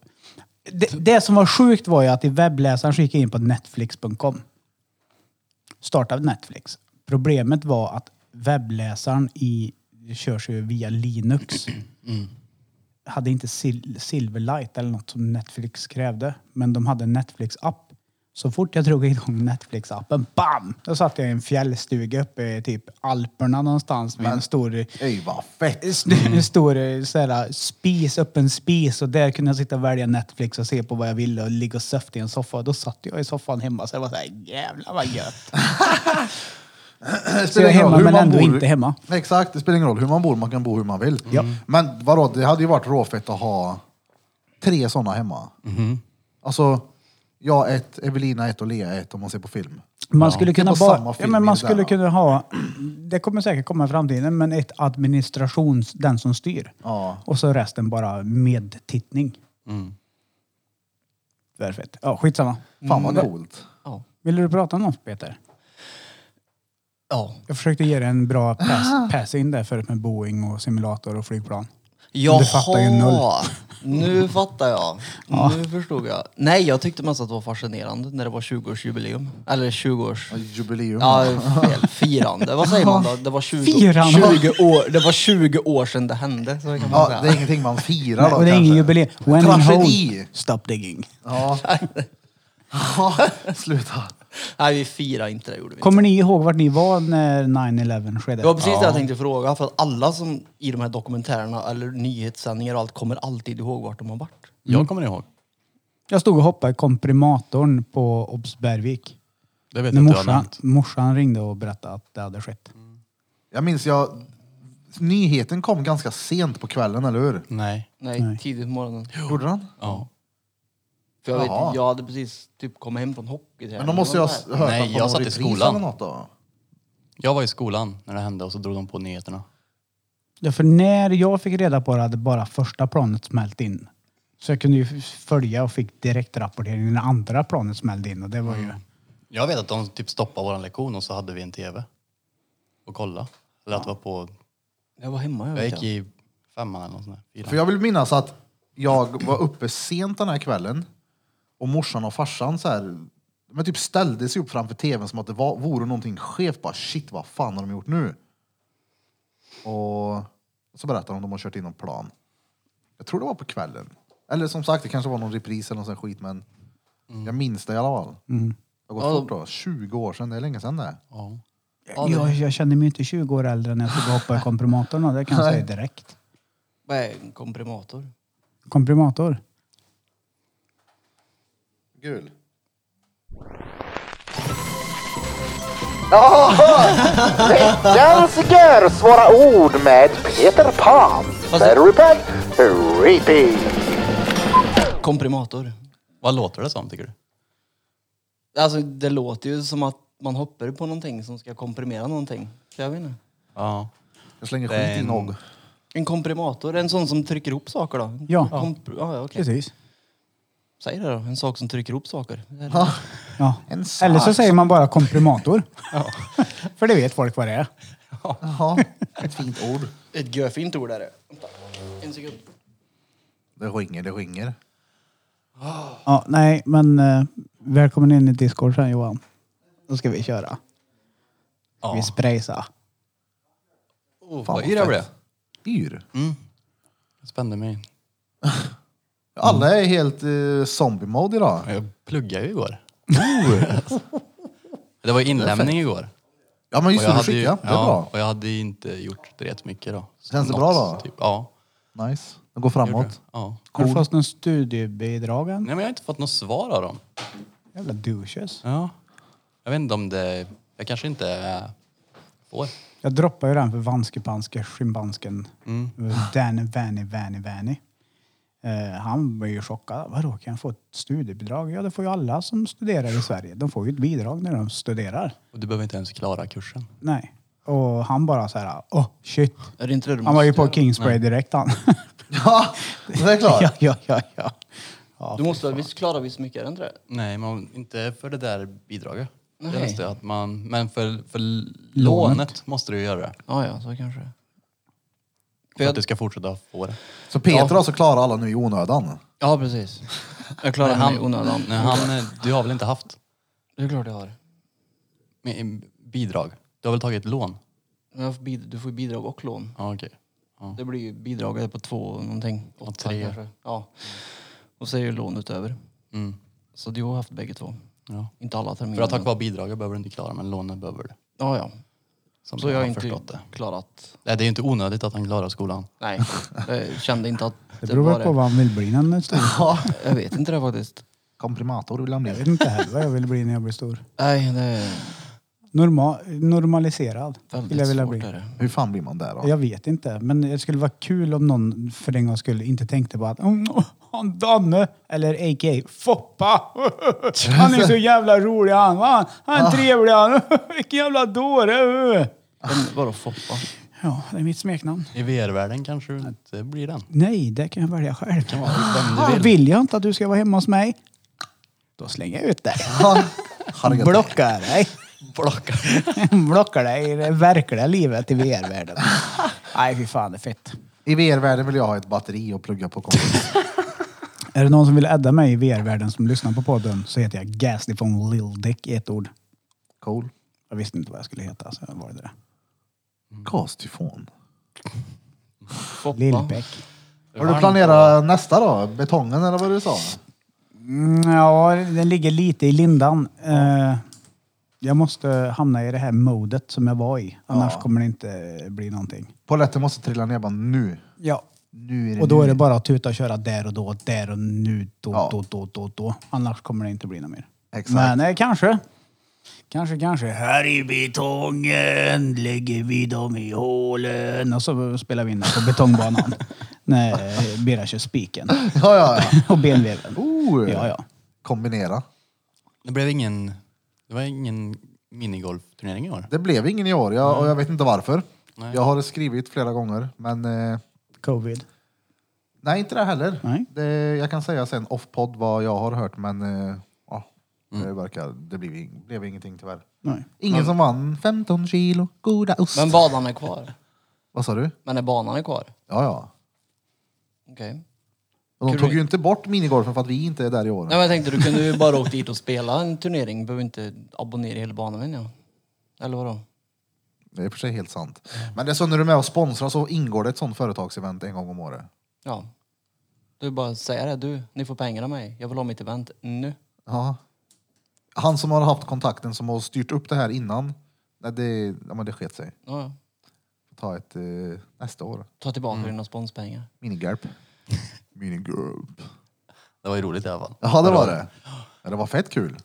S4: Det, det som var sjukt var ju att i webbläsaren så gick jag in på netflix.com. Startade Netflix. Problemet var att webbläsaren i, körs ju via Linux hade inte sil Silverlight eller något som Netflix krävde. Men de hade en Netflix-app. Så fort jag drog igång Netflix-appen, BAM! Då satt jag i en fjällstuga uppe i typ Alperna någonstans med en stor,
S3: Ey, vad fett.
S4: mm. stor eh, så här, spis, öppen spis. Och där kunde jag sitta och välja Netflix och se på vad jag ville och ligga och söfta i en soffa. Och då satt jag i soffan hemma så det var så här, jävlar vad gött!
S3: Eh, Det
S4: Så jag är
S3: ingen roll
S4: hemma
S3: hur
S4: men
S3: man
S4: ändå
S3: bor.
S4: inte hemma.
S3: Exakt, det spelar ingen roll hur man bor, man kan bo hur man vill. Men vadå, det hade ju varit råfett att ha tre sådana hemma.
S4: Mhm.
S3: Alltså, jag ett, Evelina ett och Lea ett om man ser på film.
S4: Man skulle kunna
S3: Det var
S4: bara,
S3: samma
S4: ja,
S3: film
S4: men
S3: i
S4: man
S3: det
S4: skulle
S3: där,
S4: kunna ha, det kommer säkert komma i framtiden, men ett administrations, den som styr.
S3: Ja.
S4: Och så resten bara medtittning.
S1: Mm.
S4: Perfekt. Ja, skitsamma.
S3: Fan vad
S4: Mm.
S3: coolt.
S1: Ja.
S4: Ville du prata om något Peter?
S1: ja.
S4: Jag försökte ge dig en bra pass, pass in där förut med Boeing och simulator och flygplan.
S1: Jaha!
S4: Du fattar ju noll.
S1: Nu fattar jag. Nu förstod jag. Nej, jag tyckte mest att det var fascinerande när det var 20-årsjubileum. Eller 20-års...
S3: Jubileum.
S1: Ja, fel. Firande. Vad säger man då? Det var 20,
S4: Firande.
S1: 20 år, det var 20 år sedan det hände. Så kan man
S3: Ja,
S1: säga.
S3: det är ingenting man firar då
S4: och det är ingen
S3: kanske.
S4: jubileum. When in
S3: Tragedi.
S4: hole, stop digging.
S3: Ja. ja, sluta.
S1: Nej, vi firar inte det gjorde vi inte.
S4: Kommer ni ihåg vart ni var när 9-11 skedde?
S1: Det var precis det jag tänkte fråga. För att alla som i de här dokumentärerna eller nyhetssändningar och allt kommer alltid ihåg vart de har varit.
S3: Mm.
S2: Jag kommer ihåg.
S4: Jag stod och hoppade i komprimatorn på Obs Bergvik.
S2: Det vet
S4: När
S2: jag inte jag har
S4: morsan,
S2: nämnt.
S4: morsan ringde och berättade att det hade skett.
S3: Jag minns jag... Nyheten kom ganska sent på kvällen, eller hur?
S2: Nej.
S1: Nej,
S4: Nej.
S1: tidigt på morgonen.
S3: Gjorde den?
S2: Ja.
S1: För jag, vet,
S3: Jaha.
S1: jag hade precis typ kommit hem från hockey.
S3: Men då måste jag ha hört
S2: Nej,
S3: den på
S2: jag
S3: någon
S2: satt i
S3: repris
S2: skolan.
S3: eller något då.
S2: Jag var i skolan när det hände och så drog de på nyheterna.
S4: Ja, för när jag fick reda på det hade bara första planet smält in. Så jag kunde ju f- följa och fick direktrapportering när andra planet smällde in och det var
S2: Mm.
S4: ju...
S2: Jag vet att de typ stoppade vår lektion och så hade vi en tv. Och kolla. Eller att det var på...
S1: Jag var hemma. Jag
S2: Jag
S1: vet
S2: gick
S1: jag.
S2: i femman eller något sånt där.
S3: För
S2: Fyran.
S3: jag vill minnas att jag var uppe sent den här kvällen och morsan och farsan så här, men typ ställde sig upp framför tvn som att det var, vore någonting skevt. Bara shit, vad fan har de gjort nu? Och så berättar de att de har kört in någon plan. Jag tror det var på kvällen. Eller som sagt, det kanske var någon repris eller någon sån här skit, men jag minns det i alla fall. Det har gått
S1: Ja,
S3: fort då. 20 år sedan, det är länge sedan det.
S2: Ja.
S4: Jag, jag kände mig inte 20 år äldre när jag stod och hoppade i komprimatorn och det kan jag säga direkt.
S1: Vad är en komprimator?
S4: Komprimator?
S3: Gul.
S8: Veckans svåra ord med Peter Pan. Battery Pack Repeat.
S1: Komprimator.
S2: Vad låter det som tycker du?
S1: Alltså det låter ju som att man hoppar på någonting som ska komprimera någonting. Så jag vet inte.
S2: Ja.
S3: Jag slänger
S2: Det är
S3: skit i
S2: en-
S3: nog.
S1: En komprimator, en sån som trycker ihop saker då?
S4: Ja.
S1: Kompr- ja, ja, okej.
S4: Precis.
S1: Säg det då, en sak som trycker ihop saker.
S4: Ja.
S3: En sak.
S4: Eller så säger man bara komprimator. För det vet folk vad det är.
S3: Jaha, ett fint ord.
S1: Ett görfint ord är det. Vänta, en sekund.
S3: Det ringer, det ringer.
S4: Ja, nej, men eh, välkommen in i Discord sen Johan. Då ska vi köra.
S2: ja.
S4: Vi spraysa.
S2: Oh,
S3: Fan,
S2: vad
S3: vad
S2: yr jag blev.
S3: fett. Mm. Yr.
S2: Jag spände mig.
S3: Alla är helt eh, zombie-mode idag.
S2: Ja, Jag pluggade ju igår. det var ju inlämning igår.
S3: Ja men
S2: Och
S3: just Oh. det,
S2: jag hade ju,
S3: du skickade. Det är bra.
S2: Och jag hade ju inte gjort det rätt mycket då. Så
S3: Känns det
S2: något,
S3: bra då?
S2: Typ. Ja.
S3: Nice. Det går framåt.
S2: ja.
S4: Har du fått någon studiebidrag än?
S2: Nej men jag har inte fått något svar av dem.
S4: Jävla douches.
S2: Ja. Jag vet inte om det... Jag kanske inte eh, får.
S4: Jag droppade ju den för Vanskepanske, Schimbansken.
S1: Mm.
S4: Danny, Vanny, Vanny, Vanny. Eh, han var ju chockad. Vadå, kan jag få ett studiebidrag? Ja, det får ju alla som studerar i Sverige. De får ju ett bidrag när de studerar.
S2: Och du behöver inte ens klara kursen.
S4: Nej. Och han bara så här, åh oh, shit.
S1: Är det inte det du
S4: Han var ju
S1: måste
S4: på
S1: göra?
S4: Kingspray direkt han.
S3: Ja, det är klart.
S4: ja, ja, ja, ja. ja
S1: Du måste visst klara visst mycket, är det inte det?
S2: Nej, man, inte för det där bidraget. Det
S1: Nej.
S2: måste jag att man, men för, för lånet. lånet måste du ju göra det.
S1: Ja, ja, så kanske det är.
S2: För att du ska fortsätta få det.
S3: Så Peter
S1: Ja.
S3: alltså klarar alla nu i onödan.
S1: Ja, precis. Jag klarar mig i onödan.
S2: nej, han, eh, du har väl inte haft
S1: Det är klart jag har.
S2: med- eh, bidrag? Du har väl tagit ett lån?
S1: Men jag får bid- Du får ju bidrag och lån.
S2: Ja, okej.
S1: Det blir ju bidraget på två och någonting.
S2: Och tre.
S1: kanske. Ja. Och så är ju lån utöver.
S2: Mm.
S1: Så du har haft bägge två.
S2: Ja.
S1: Inte alla terminer.
S2: För att ha
S1: men-
S2: kvar bidraget behöver du inte klara, men lånet behöver du.
S1: Ja, ja.
S2: Som
S1: Så jag har
S2: förstått
S1: inte
S2: det.
S1: klarat...
S2: Nej, det är ju inte onödigt att han klarar skolan.
S1: Nej, jag kände inte att
S4: Det beror
S1: var
S4: väl på vad han vill bli när han är stor.
S1: Jag vet inte det faktiskt.
S3: Komprimator vill han
S4: Jag
S3: bli.
S4: vet inte heller vad jag vill bli när jag blir stor.
S1: Nej, det...
S4: Norma, normaliserad
S1: Väldigt
S4: skulle jag vilja
S1: svårt
S4: bli.
S1: är det.
S3: Hur fan blir man där då?
S4: Jag vet inte, men det skulle vara kul om någon för en gångs skull inte tänkte på att "Mm, han Danne, eller a.k.a. Foppa, han är så jävla rolig han, va? han är trevlig han, vilken jävla dåre.
S1: Men Vadå Foppa?
S4: Ja, det är mitt smeknamn.
S2: I VR-världen kanske du inte blir den.
S4: Nej, det kan jag välja själv.
S2: Det kan vara vem du
S4: Vill.
S2: vill.
S4: jag inte att du ska vara hemma hos mig, då slänger jag ut dig.
S3: Harriet.
S4: Blockar dig. Blockar dig i det verkliga livet i VR-världen. Nej, fy fan, det är fett.
S3: I VR-världen vill jag ha ett batteri och plugga på kompis.
S4: Är det någon som vill adda mig i VR-världen som lyssnar på podden så heter jag Gasly von Lil Dick i ett ord.
S3: Cool.
S4: Jag visste inte vad jag skulle heta, så jag var det där.
S3: Gastyfon.
S4: Lillbäck.
S3: Har du planerat nästa då? Betongen eller vad du sa?
S4: Mm, ja, den ligger lite i lindan. Eh, jag måste hamna i det här modet som jag var i. Annars kommer det inte bli någonting.
S3: Polletten måste trilla ner bara nu.
S4: Ja,
S3: Nu är det
S4: och då
S3: nu.
S4: är det bara att tuta och köra där och då, där och nu, då,
S3: Ja.
S4: då, då, då, då. Annars kommer det inte bli något mer.
S3: Exakt.
S4: Men eh, kanske. Kanske, kanske. Här i betongen lägger vi dem i hålen. Och så spelar vi in den på betongbanan. när eh, Bera kör spiken
S3: Ja, ja, ja.
S4: och benveven.
S3: Oh.
S4: Ja, ja.
S3: Kombinera.
S2: Det blev ingen... Det var ingen minigolfturnering i år.
S3: Det blev ingen i år jag, och
S1: Mm.
S3: jag vet inte varför. Jag har skrivit flera gånger, men eh,
S4: Covid.
S3: nej, inte det heller.
S4: Nej.
S3: Det, jag kan säga sen off-podd vad jag har hört, men eh, ja,
S1: Mm.
S3: det, verkar, det blev, ing- blev ingenting tyvärr.
S4: Nej.
S3: Ingen som vann 15 kilo goda ost.
S1: Men banan är kvar?
S3: Vad sa du?
S1: Men är banan är kvar?
S3: Ja, ja.
S1: Okej.
S3: Och de
S1: Kul.
S3: tog ju inte bort minigolfen för att vi inte är där i år.
S1: Nej men jag tänkte du kunde ju bara åkt dit och spela en turnering. Behöver inte abonnera hela banan menar jag. Eller vadå?
S3: Det är i och för sig helt sant. Men det är så när du är med och sponsrar så ingår det ett sånt företagsevent en gång om året.
S1: Ja. Du bara säger det. Du, ni får pengar av mig. Jag vill ha mitt event nu.
S3: Ja. Han som har haft kontakten som har styrt upp det här innan, nej, det, ja, men det sket sig.
S1: Ja, ja.
S3: Ta ett eh, nästa år.
S1: Ta tillbaka dina sponspengar.
S3: Minigarp. Minigarp.
S2: Det var ju roligt i alla fall.
S3: Ja, det var det. Ja, det var fett kul.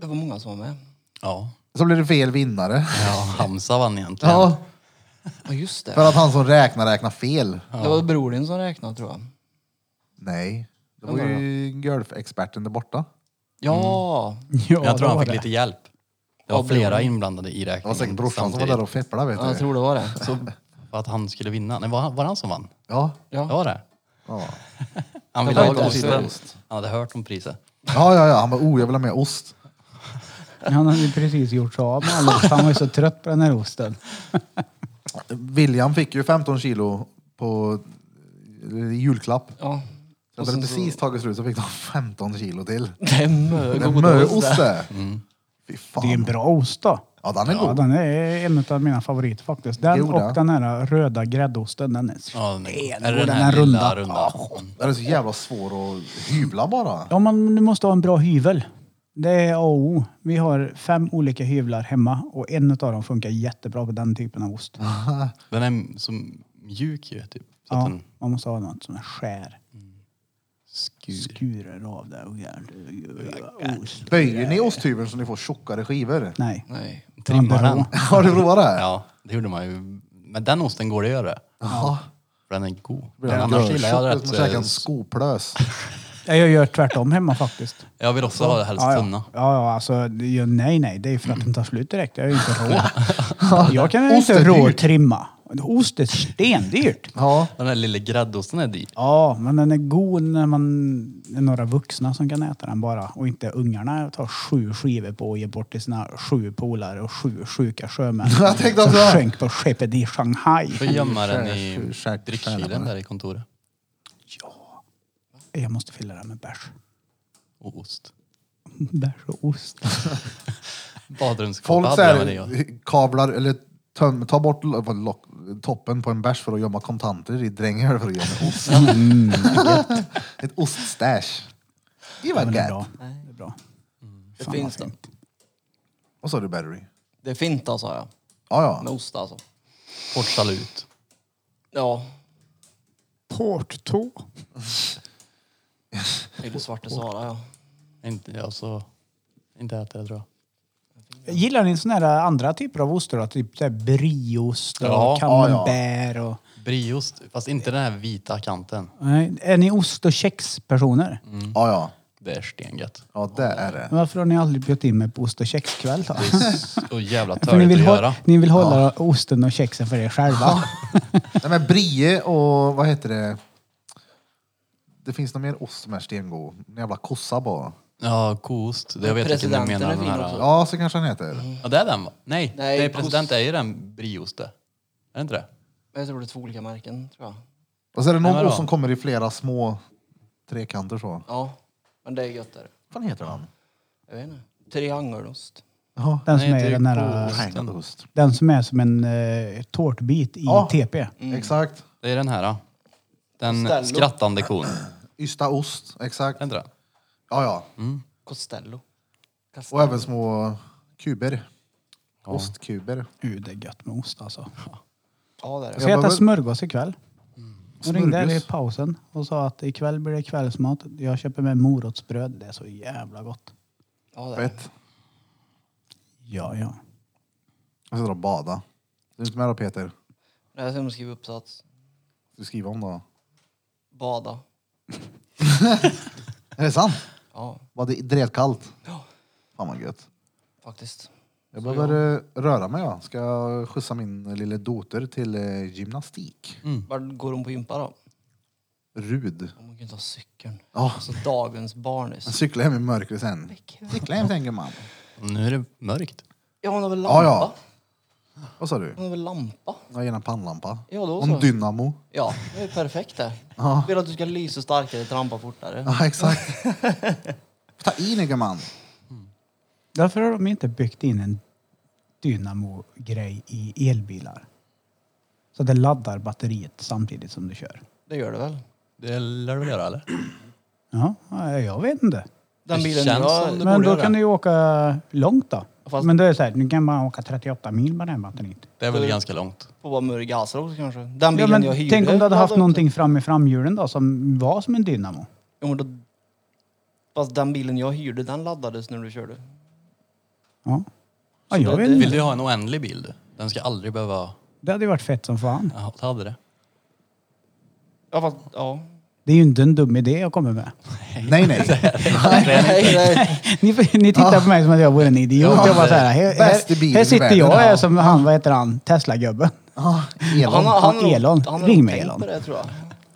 S1: Det var många som var med.
S2: Ja.
S3: Så blev det fel vinnare.
S2: Ja, Hamza vann egentligen.
S3: Ja,
S1: Ja just det.
S3: för att han som räknar räknar fel.
S1: Det var bror din som räknade tror jag.
S3: Nej, det var ju golfexperten där borta.
S1: Ja!
S4: Ja,
S2: Men jag tror
S4: det
S2: han
S4: var
S2: fick
S4: det.
S2: lite hjälp. Det var flera inblandade i räkningen
S3: Det var säkert brorsan som var
S2: Mm, samtidigt.
S3: där och fepplade vet
S1: ja, jag
S3: du.
S1: tror det var det. Så,
S2: För att han skulle vinna. Nej, var, han- var det han som vann?
S3: Ja,
S1: Ja.
S2: Det var det.
S3: ja.
S2: Han ville
S1: var
S2: ha
S1: inte
S2: osten.
S3: ost.
S2: Han hade hört om priset.
S3: Ja, ja, ja. Han bara, oh jag vill ha med ost.
S4: Han hade ju precis gjort sig av med all ost. Han var ju så trött på den här osten.
S3: William fick ju 15 kilo på eh, julklapp.
S1: ja.
S3: Så hade det precis tagit slut så fick de 15 kilo till.
S1: Det är mö-
S3: Det är
S1: god
S3: möost
S1: ost.
S3: det. Fy
S4: Det är en
S3: fan.
S4: bra ost då.
S3: Ja, den är
S4: Ja,
S3: god.
S4: den är en av mina favoriter faktiskt. Den
S3: Jo, då.
S4: och den här röda gräddosten. Den är
S2: Ja, den,
S4: stenhård,
S2: är det den
S4: den
S2: här
S4: här
S2: lilla
S4: runda.
S2: runda? Mm.
S3: Den är så jävla svår att hyvla bara.
S4: Ja, man, du måste ha en bra hyvel. Det är A och O. Vi har fem olika hyvlar hemma och en av dem funkar jättebra på den typen av ost.
S2: Ah, Den är så mjuk ju, typ. Så att
S4: Ja,
S2: den
S4: man måste ha något som är skär.
S2: skur.
S4: Skurar av det. och gör- Ost.
S3: Böjer ni osthyveln så ni får tjockare skivor?
S4: Nej.
S1: Nej.
S2: Trimmar
S4: Bra.
S2: den.
S3: Har du provat det?
S2: Ja, det gjorde man ju. Men den osten går det att göra.
S3: Ja.
S2: För den är god.
S3: Blir den
S2: Annars gillar jag
S3: görtjock, Man käkar en
S2: rätt... eh,
S3: skoplös.
S4: Ja, Jag gör tvärtom hemma faktiskt.
S2: Jag vill också ha det helst
S4: ja, ja.
S2: tunna.
S4: Ja, ja, alltså det är ju- nej, nej, det är ju för att den tar slut direkt. Jag är ju inte rå. Jag kan ju
S3: Ost är
S4: inte rå
S3: dyrt.
S4: trimma. Ost är stendyrt.
S3: Ja.
S2: Den där lilla gräddosten är dyr.
S4: Ja, men den är god när man är några vuxna som kan äta den bara och inte ungarna tar sju skivor på och ger bort till sina sju polare och sju sjuka sjömän
S3: Jag tänkte
S4: som
S3: också det.
S4: sjönk på skeppet i Shanghai.
S2: Får gömma den i
S3: Skär- skär- skär-
S2: drickkylen där i kontoret.
S4: Jag måste fylla den med bärs.
S2: Och ost.
S4: Bärs och ost.
S2: Badrumskåpa
S3: Folk
S2: hade
S3: så
S2: jag med det. ja.
S3: här, kablar eller töm, tar bort lo- vad, lock, toppen på en bärs för att gömma kontanter i drängar för att gömma ost.
S2: Mm.
S3: Ett oststash. Det
S4: Ja,
S3: var
S4: men det är
S3: gött.
S4: bra. Det är bra.
S1: Det
S4: Fan,
S1: finns
S4: vad
S1: det.
S3: Vad sa du Barry?
S1: Det är fint alltså, ja.
S3: Ja,
S2: Mm.
S1: Med
S3: ja.
S1: ost alltså.
S2: Kort salut.
S1: Ja.
S4: Porttå.
S1: Lille Svarte Sara ja.
S2: Inte jag så... Inte äter jag tror jag.
S1: fint.
S4: Gillar ni såna här andra typer av ostar? då? Typ så här brieost och
S2: Ja,
S4: camembert och...
S2: Brieost, fast inte den här vita kanten.
S4: Nej, är ni ost och kexpersoner?
S2: Mm.
S3: Ja, ja.
S2: Det är stengött.
S3: Ja, det är det.
S4: Varför har ni aldrig bjudit in mig på ost och kexkväll då?
S2: Så jävla
S4: För ni
S2: törligt att
S4: vill, hå-
S2: göra.
S4: ni vill hålla osten och kexen för er själva.
S3: Nej, men brie och vad heter det? Det finns någon mer ost som är stengod. En jävla kossa bara.
S2: Ja, koost. Det- Jag vet inte vad
S1: Presidenten
S2: du menar.
S1: är
S2: Den
S1: fin
S2: här.
S1: också.
S3: Ja, så kanske den heter.
S2: Ja, det är den va? Nej,
S1: Nej,
S2: det är
S1: koost.
S2: president är ju den brieost det. Är det inte det?
S1: Jag tror det är två olika märken, tror jag.
S3: Och så är det
S2: Nej,
S3: någon
S2: vadå?
S3: ost som kommer i flera små trekanter så. Vad
S1: Ja, men det är gött där.
S3: fan heter den?
S1: Jag vet inte. Triangelost.
S3: Jaha.
S4: Den som
S2: Nej,
S4: är
S2: det är
S4: den här...
S2: koost.
S3: Triangled ost.
S4: Den som är som en eh, tårtbit i
S3: Ja.
S4: TP.
S3: Exakt.
S2: Det är den här. ja. Den
S1: Costello.
S2: skrattande kon.
S3: Ysta ost. Exakt.
S2: Är inte det?
S3: Ja, ja.
S1: Costello.
S3: Och även små kuber. Ostkuber.
S4: Uh, det är gött med ost alltså.
S1: Ja, det är
S4: Jag
S1: det.
S4: ska
S3: Jag
S4: äta
S3: behöver-
S4: smörgås ikväll. Jag ringde här i
S3: Smörgås?
S4: pausen och sa att ikväll blir det kvällsmat. Jag köper med morotsbröd. Det är så jävla gott.
S1: Ja, det är det.
S3: Fett.
S4: Ja, ja.
S3: Jag ska dra och bada. Du är inte med då Peter?
S1: Nej, Jag ska skriva uppsats.
S3: Du skriver om då?
S1: Bada.
S3: Är det sant?
S1: Ja,
S3: Var det dretkallt?
S1: Ja.
S3: Fan vad gött.
S1: faktiskt.
S3: Jag behöver eh, röra mig ja. Ska jag skjutsa min lilla dotter till eh, gymnastik.
S1: Vart går hon på gympa då?
S3: Rud.
S1: Om hon kan ta cykeln.
S3: Ja.
S1: Alltså dagens barn är
S3: Jag
S1: så...
S3: cyklar hem i mörkret sen. Cykla hem sen gumman.
S2: Nu är det mörkt.
S1: Ja, hon har väl
S3: Ja,
S1: lampa?
S3: ja. Vad sa du?
S1: Hon har väl lampa?
S3: Jag ger en pannlampa.
S1: Ja, då
S3: Och en
S1: så.
S3: dynamo.
S1: Ja, det är ju perfekt det.
S3: Ja.
S1: Vill att du ska lysa starkare, trampa fortare.
S3: Ja exakt. Ta i nu gumman.
S4: Varför har de inte byggt in en dynamo-grej i elbilar? Så att det laddar batteriet samtidigt som du kör.
S1: Det gör det väl?
S2: Det lär du väl göra eller?
S4: Ja, ja, jag vet inte.
S1: Den
S2: Det
S1: bilen
S2: känns
S1: jag...
S2: som det.
S4: Men
S2: borde
S4: då
S2: göra.
S4: kan du ju åka långt då.
S1: Fast-
S4: Men då är det så här, nu kan man åka 38 mil med den batteriet.
S2: Det är väl ganska långt.
S1: På vad Murre Gasser kanske. Den
S4: Ja,
S1: bilen
S4: men
S1: jag hyrde.
S4: tänk om du hade haft
S1: hade-
S4: någonting fram i framhjulen då som var som en dynamo.
S1: Jo, men då... Fast den bilen jag hyrde, den laddades när du körde.
S4: Ja. Ja,
S1: Så
S4: jag
S1: det-
S4: vet
S1: det-
S4: inte.
S2: Vill du ha en oändlig bil du? Den ska aldrig behöva...
S4: Det hade ju varit fett som fan.
S2: Ja, det hade det.
S1: Ja, fast, ja.
S4: Det är ju inte en dum idé jag kommer med.
S3: Nej nej.
S1: Nej, nej.
S4: Ni, ni tittar på mig som att jag vore en idiot.
S3: Ja,
S4: jag bara så här, här,
S3: bäst i bilen
S4: här,
S3: i
S4: här sitter
S3: världen,
S4: jag
S3: ja.
S4: här som han, vad heter han, Tesla-gubben.
S3: Ja,
S1: Han,
S3: Elon.
S1: har- han, har-
S4: Elon.
S1: han har
S4: Ring
S1: nog
S4: mig,
S1: tänkt
S4: Elon.
S1: på det tror jag.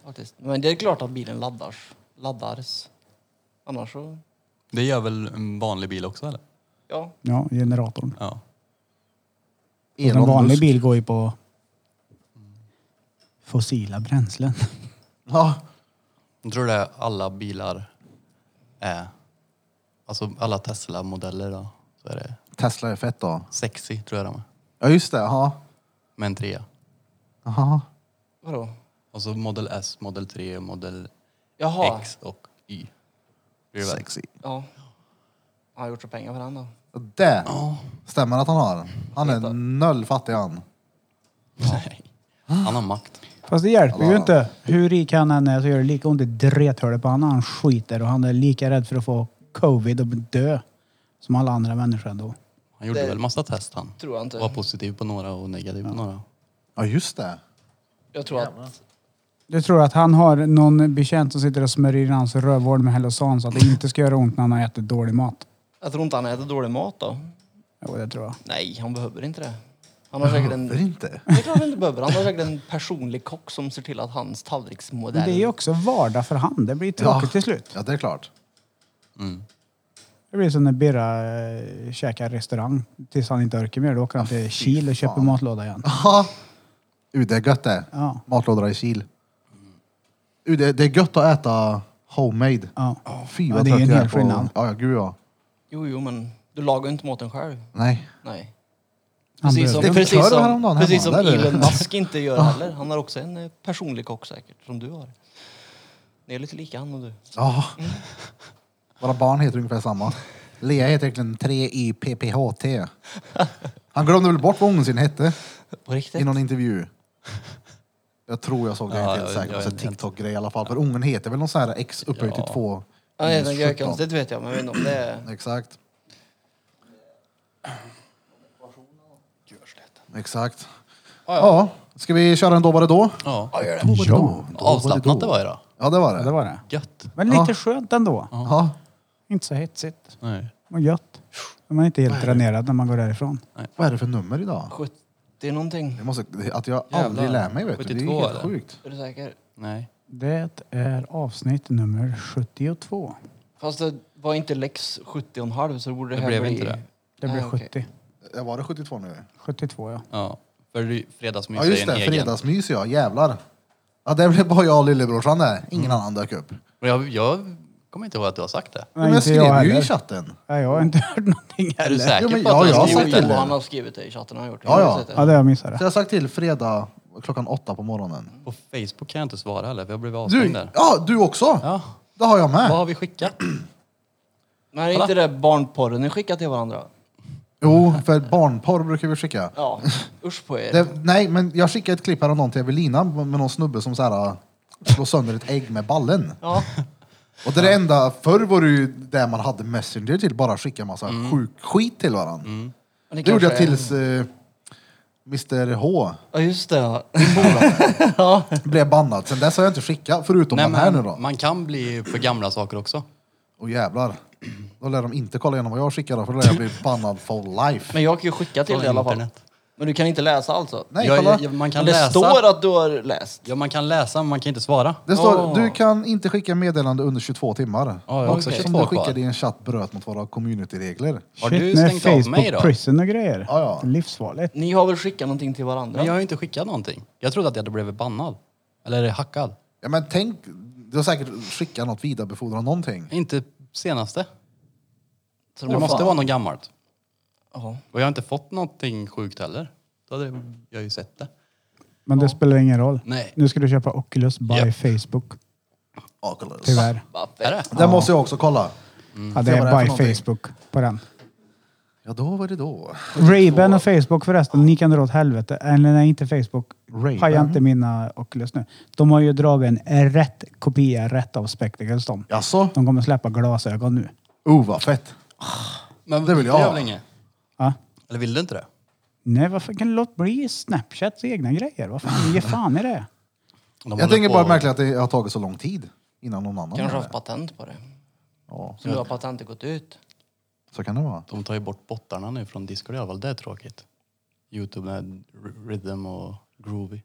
S1: Faktiskt. Men det är klart att bilen laddars. laddars. Annars så,
S2: Det gör väl en vanlig bil också eller?
S1: ja.
S4: Ja, generatorn.
S2: Ja.
S4: En
S3: Elon
S4: vanlig
S3: Musk.
S4: bil går ju på fossila bränslen.
S3: Ja.
S2: Jag tror det är alla bilar är... Alltså alla Tesla-modeller då. Så är det
S3: Tesla är fett då.
S2: sexy tror jag de är.
S3: Ja just det. Ja.
S2: Med en trea.
S3: Jaha.
S1: Vadå?
S2: Och så Model S, Model 3, Model
S1: Jaha.
S2: X och Y. Blir det väl?
S3: Sexy.
S1: Ja. Han har gjort så pengar på den då.
S3: Det stämmer att han har. Han är noll fattig han.
S2: Nej. Han har makt.
S4: Fast det hjälper ju
S3: Ja.
S4: inte. Hur rik han än är så gör det lika ont i drethålet på honom när han skiter och han är lika rädd för att få covid och dö som alla andra människor ändå.
S2: Han gjorde
S1: Det-
S2: väl massa test han.
S1: Tror jag inte.
S2: Var positiv på några och negativ på några.
S3: Ja just det.
S1: Jag tror att...
S4: Du tror att han har någon betjänt som sitter och smörjer in hans rövhål med Hellosan så att det inte ska göra ont när han har ätit dålig mat?
S1: Jag tror inte han äter dålig mat då.
S4: Jo, det tror jag.
S1: Nej, han behöver inte det. Han har säkert en...
S3: Varför inte?
S1: Det är klart han inte behöver. Han har säkert en personlig kock som ser till att hans tallriksmodell...
S4: Men det är ju också vardag för han. Det blir tråkigt till slut.
S3: Ja det är klart.
S4: Det blir som när Birra äh, käkar restaurang tills han inte orkar mer. Då åker han till Kil och köper
S3: fan.
S4: matlåda igen.
S3: Ja. Uh, det är gött det.
S4: Ja.
S3: Matlådor i kil. Uh, det, det är gött att äta homemade.
S4: Ja.
S3: Fy
S4: Ja,
S3: vad
S4: det är ju
S3: trött
S4: en
S3: jag
S4: hel
S3: på...
S4: skillnad.
S3: Ja, ja, gud ja.
S1: Jo, jo, men du lagar ju inte maten själv.
S3: Nej.
S1: Nej.
S4: Han
S1: Precis som,
S4: behöver-
S3: Det fick jag
S1: precis
S3: höra häromdagen
S1: som,
S3: hemma,
S1: precis som
S3: där är det.
S1: Elon Musk inte gör heller. Han har också en eh, personlig kock säkert, som du har. Ni är lite lika han och du.
S3: Ja. Våra barn heter ungefär samma. Lea heter egentligen 3YPPHT. Han glömde väl bort vad ungen sin hette
S1: På
S3: i
S1: riktigt?
S3: någon intervju. Jag tror jag såg det, jag är
S2: Ja,
S3: inte helt
S2: jag-
S3: säker på.
S2: jag
S3: Så
S2: vet inte.
S3: TikTok-grej i alla fall. För ungen heter väl någon sån här X upphöjt till 2.
S1: Ja, det är konstigt vet jag, men jag vet inte om det är...
S3: Exakt. Exakt.
S2: Ah,
S3: Ja, ska vi köra en då var det då?
S2: Ja.
S4: Ja,
S2: Avslappnat det var ju då.
S3: Ja, det var
S4: det
S3: det.
S4: var det.
S2: Gött.
S4: Men lite skönt ändå.
S3: Ja.
S4: Inte så hetsigt.
S2: Nej.
S4: Och gött. Man är inte helt dränerad när man går därifrån.
S3: Vad är det för nummer idag?
S1: 70 någonting.
S3: Jag måste, att jag
S2: Jävlar.
S3: aldrig lär mig vet du. Det är
S2: 72
S3: helt
S2: eller?
S3: sjukt.
S1: Är du säker?
S2: Nej.
S4: Det är avsnitt nummer 72.
S1: Fast det var inte Lex 70,5 så det borde det
S2: Det
S1: här
S2: blev
S1: bli...
S2: inte det.
S4: Det
S1: Nej,
S4: blir
S1: okej.
S4: 70.
S3: Ja, Var det 72 nu?
S4: 72 ja.
S2: Ja. För det är ju fredagsmys
S3: Ja just
S2: är en
S3: det,
S2: egen.
S3: fredagsmys ja. Jävlar. Ja, det blev bara jag och lillebrorsan där. Ingen
S2: Mm.
S3: annan dök upp.
S2: Men jag, jag kommer inte ihåg att du har sagt det.
S3: Men jag skrev ju i chatten.
S4: Ja, jag har inte hört någonting
S2: Är du
S4: heller.
S2: säker
S3: Jo, men
S2: på att
S3: ja,
S2: du
S3: jag har
S2: har
S1: Jo,
S3: sagt
S2: skrivit
S1: jo,
S3: det.
S2: det?
S1: han har skrivit det i chatten. Han har gjort det.
S3: Ja,
S1: Jag har
S3: ja.
S1: sett det.
S4: Ja, det har jag missat.
S3: Så jag har sagt till fredag klockan åtta på morgonen.
S2: På Facebook kan jag inte svara heller, för jag blev avstängd
S3: Du,
S2: där.
S3: ja, du också?
S2: Ja.
S3: Det har jag
S2: Vad
S3: med.
S2: har vi skickat?
S1: Men är inte det barnporren ni skickar till varandra?
S3: Jo, för barnporr brukar vi skicka.
S1: Ja, usch på er.
S3: Det, nej, men jag skickade ett klipp häromdagen till Evelina med någon snubbe som så här, äh, slår sönder ett ägg med ballen.
S1: Ja.
S3: Och det är det enda, förr var det ju där man hade Messenger till, bara skicka massa sjuk skit till varandra.
S1: Men
S3: Det gjorde jag
S1: kanske är-
S3: tills eh, Mr H
S1: Ja, just det. ja.
S3: blev bannad. Sen dess har jag inte skickat, förutom den här nu då.
S2: man kan bli för gamla saker också.
S3: Åh jävlar. Då lär de inte kolla igenom vad jag skickar då, för då lär jag bli bannad for life.
S1: Men jag kan ju skicka till
S2: Från
S1: dig i alla fall.
S2: internet.
S1: Men du kan inte läsa alltså?
S3: Nej,
S2: Jag-
S3: kolla.
S2: jag- man kan
S1: Men det
S2: läsa.
S1: står att du har läst.
S2: Ja, man kan läsa, men man kan inte svara.
S3: Det står,
S1: Åh.
S3: du kan inte skicka meddelande under 22 timmar.
S2: Ja, jag har också
S1: Okej.
S3: Som
S2: 22
S3: du
S2: kvar.
S3: skickade i en chatt bröt mot våra communityregler.
S2: Har
S4: Shit,
S2: du
S4: med
S2: stängt av mig
S4: Facebook
S2: då?
S4: prison och grejer.
S3: Ja, ja.
S4: Livsfarligt.
S1: Ni har väl skickat någonting till varandra?
S2: Men jag har ju inte skickat någonting. Jag trodde att jag hade blivit bannad. Eller hackad.
S3: Ja, men tänk, du har säkert skickat något, vidarebefordra någonting.
S2: Inte senaste.
S1: Så
S2: Det
S1: var
S2: måste
S1: fan-
S2: vara något gammalt.
S1: Ja.
S2: Och jag har inte fått någonting sjukt heller. Då hade jag ju sett det.
S4: Men det spelar ingen roll.
S2: Nej.
S4: Nu ska du köpa Oculus by
S2: Japp.
S4: Facebook.
S3: Oculus.
S4: Tyvärr.
S1: Vad
S2: Är
S1: fett.
S2: det?
S3: Det måste jag också kolla.
S4: Ja, Mm. det
S3: Se vad det är
S4: är by
S3: för någonting.
S4: Facebook på den.
S3: Ja, då var det då.
S4: Ray-Ban och Facebook förresten, ni kan dra åt helvete. Eller nej, inte Facebook.
S3: Ray-Ban?
S4: Paja inte mina Oculus nu. De har ju dragit en rätt kopia, rätt av Spectacles de.
S3: Jaså?
S4: De kommer släppa glasögon nu.
S3: Oh, vad fett.
S2: Men
S3: Det vill jag
S2: det är
S3: ha.
S2: väl inget?
S4: Ja.
S2: Eller vill du inte det?
S4: Nej, varför kan det låta bli Snapchats egna grejer? Vad fan, ge fan i det?
S2: De
S3: Jag
S2: håller
S3: tänker
S2: på-
S3: bara märkligt att det har tagit så lång tid innan någon annan
S1: Kanske
S3: gör
S1: har haft
S3: det.
S1: patent på det.
S3: Ja,
S1: Så nu har patentet gått ut.
S3: så kan det vara.
S2: De tar ju bort bottarna nu från Discord i alla fall. Det är tråkigt. Youtube med r- Rhythm och Groovy.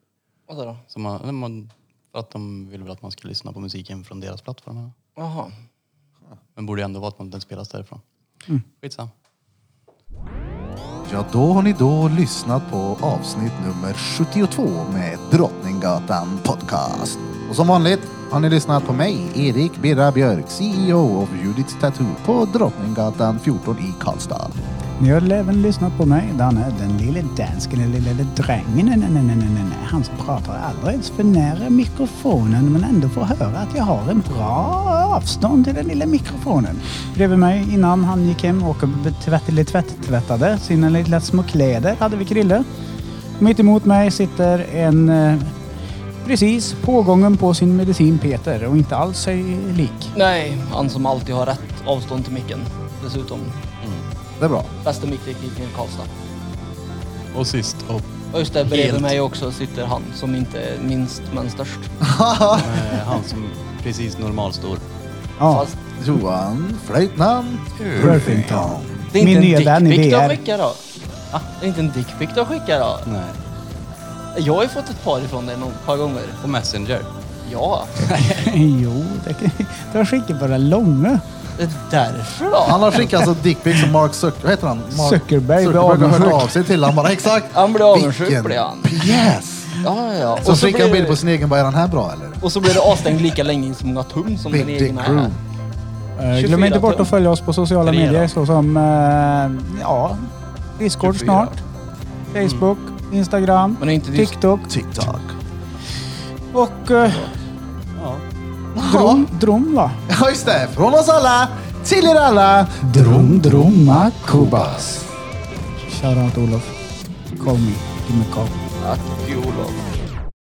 S1: Vadå då?
S2: Så man, eller man, för att de vill väl att man ska lyssna på musiken från deras plattformar.
S1: Jaha.
S2: Men borde ju ändå vara att man den spelas därifrån.
S3: Mm.
S2: Skitsamma.
S3: Ja, då har ni då lyssnat på avsnitt nummer 72 med Drottninggatan Podcast. Och som vanligt har ni lyssnat på mig, Erik Birra Björk, CEO of Judiths Tattoo på Drottninggatan 14 i Karlstad.
S4: Ni har även lyssnat på mig, Danne. Den lille dansken, den lille drängen. Nej, nej, nej, nej, nej, nej. Han som pratar aldrig ens för nära mikrofonen men ändå får höra att jag har en bra avstånd till den lilla mikrofonen. Bredvid mig innan han gick hem och tvätt, tvätt, tvättade sina lilla små kläder hade vi Krille. Mitt emot mig sitter en eh, precis pågången på sin medicin Peter och inte alls sig lik.
S1: Nej, han som alltid har rätt avstånd till micken. Dessutom,
S3: Det är bra.
S1: bästa micktekniken i Karlstad.
S2: Och sist och
S1: Och just det, bredvid
S2: Helt.
S1: mig också sitter han som inte är minst men störst.
S2: eh, han som precis normalstor.
S4: Ja,
S1: Fast
S3: Johan Flöjtnamn Worthington.
S1: det är inte
S4: Min nya
S1: en
S4: Dan i
S1: dickpic du har
S4: VR.
S1: skickat då? Ah, Det är inte en dickpic du har skickat då?
S2: Nej.
S1: Jag har ju fått ett par ifrån dig något par gånger.
S2: På Messenger.
S1: Ja,
S4: jo, det, kan- det var skickligt på det långa.
S1: det är därför då.
S3: Han har skickat alltså dickpics som Mark Zucker, vad heter han? Mark
S4: Zuckerberg
S3: Zuckerberg
S4: blev
S3: har hört
S4: avundsjuk.
S3: av sig till han bara exakt.
S1: Han blev avundsjuk,
S3: Vilken
S1: blev han.
S3: Pjäs!
S1: Ja, ja.
S3: Så
S1: så
S3: skickar han
S1: blir
S3: bild på
S1: det-
S3: sin egen, bara är den här bra eller?
S1: Och så blir det avstängd lika länge i så många tum som
S3: Big
S1: den
S3: Dick
S1: egna är.
S3: Crew.
S4: Eh, Glöm inte
S1: 24
S4: bort
S1: tum.
S4: att följa oss på sociala
S2: Tre då.
S4: medier såsom eh, ja, Discord
S1: 24.
S4: snart, Facebook, Instagram,
S1: Mm. Men det är inte dis-
S4: TikTok
S3: TikTok.
S4: och eh, Drom, Drom va?
S3: Ja just det, från oss alla till er alla.
S4: Drom Droma Kubas. Shoutout Olof. Call me. Give me a call.
S1: Tack, Olof.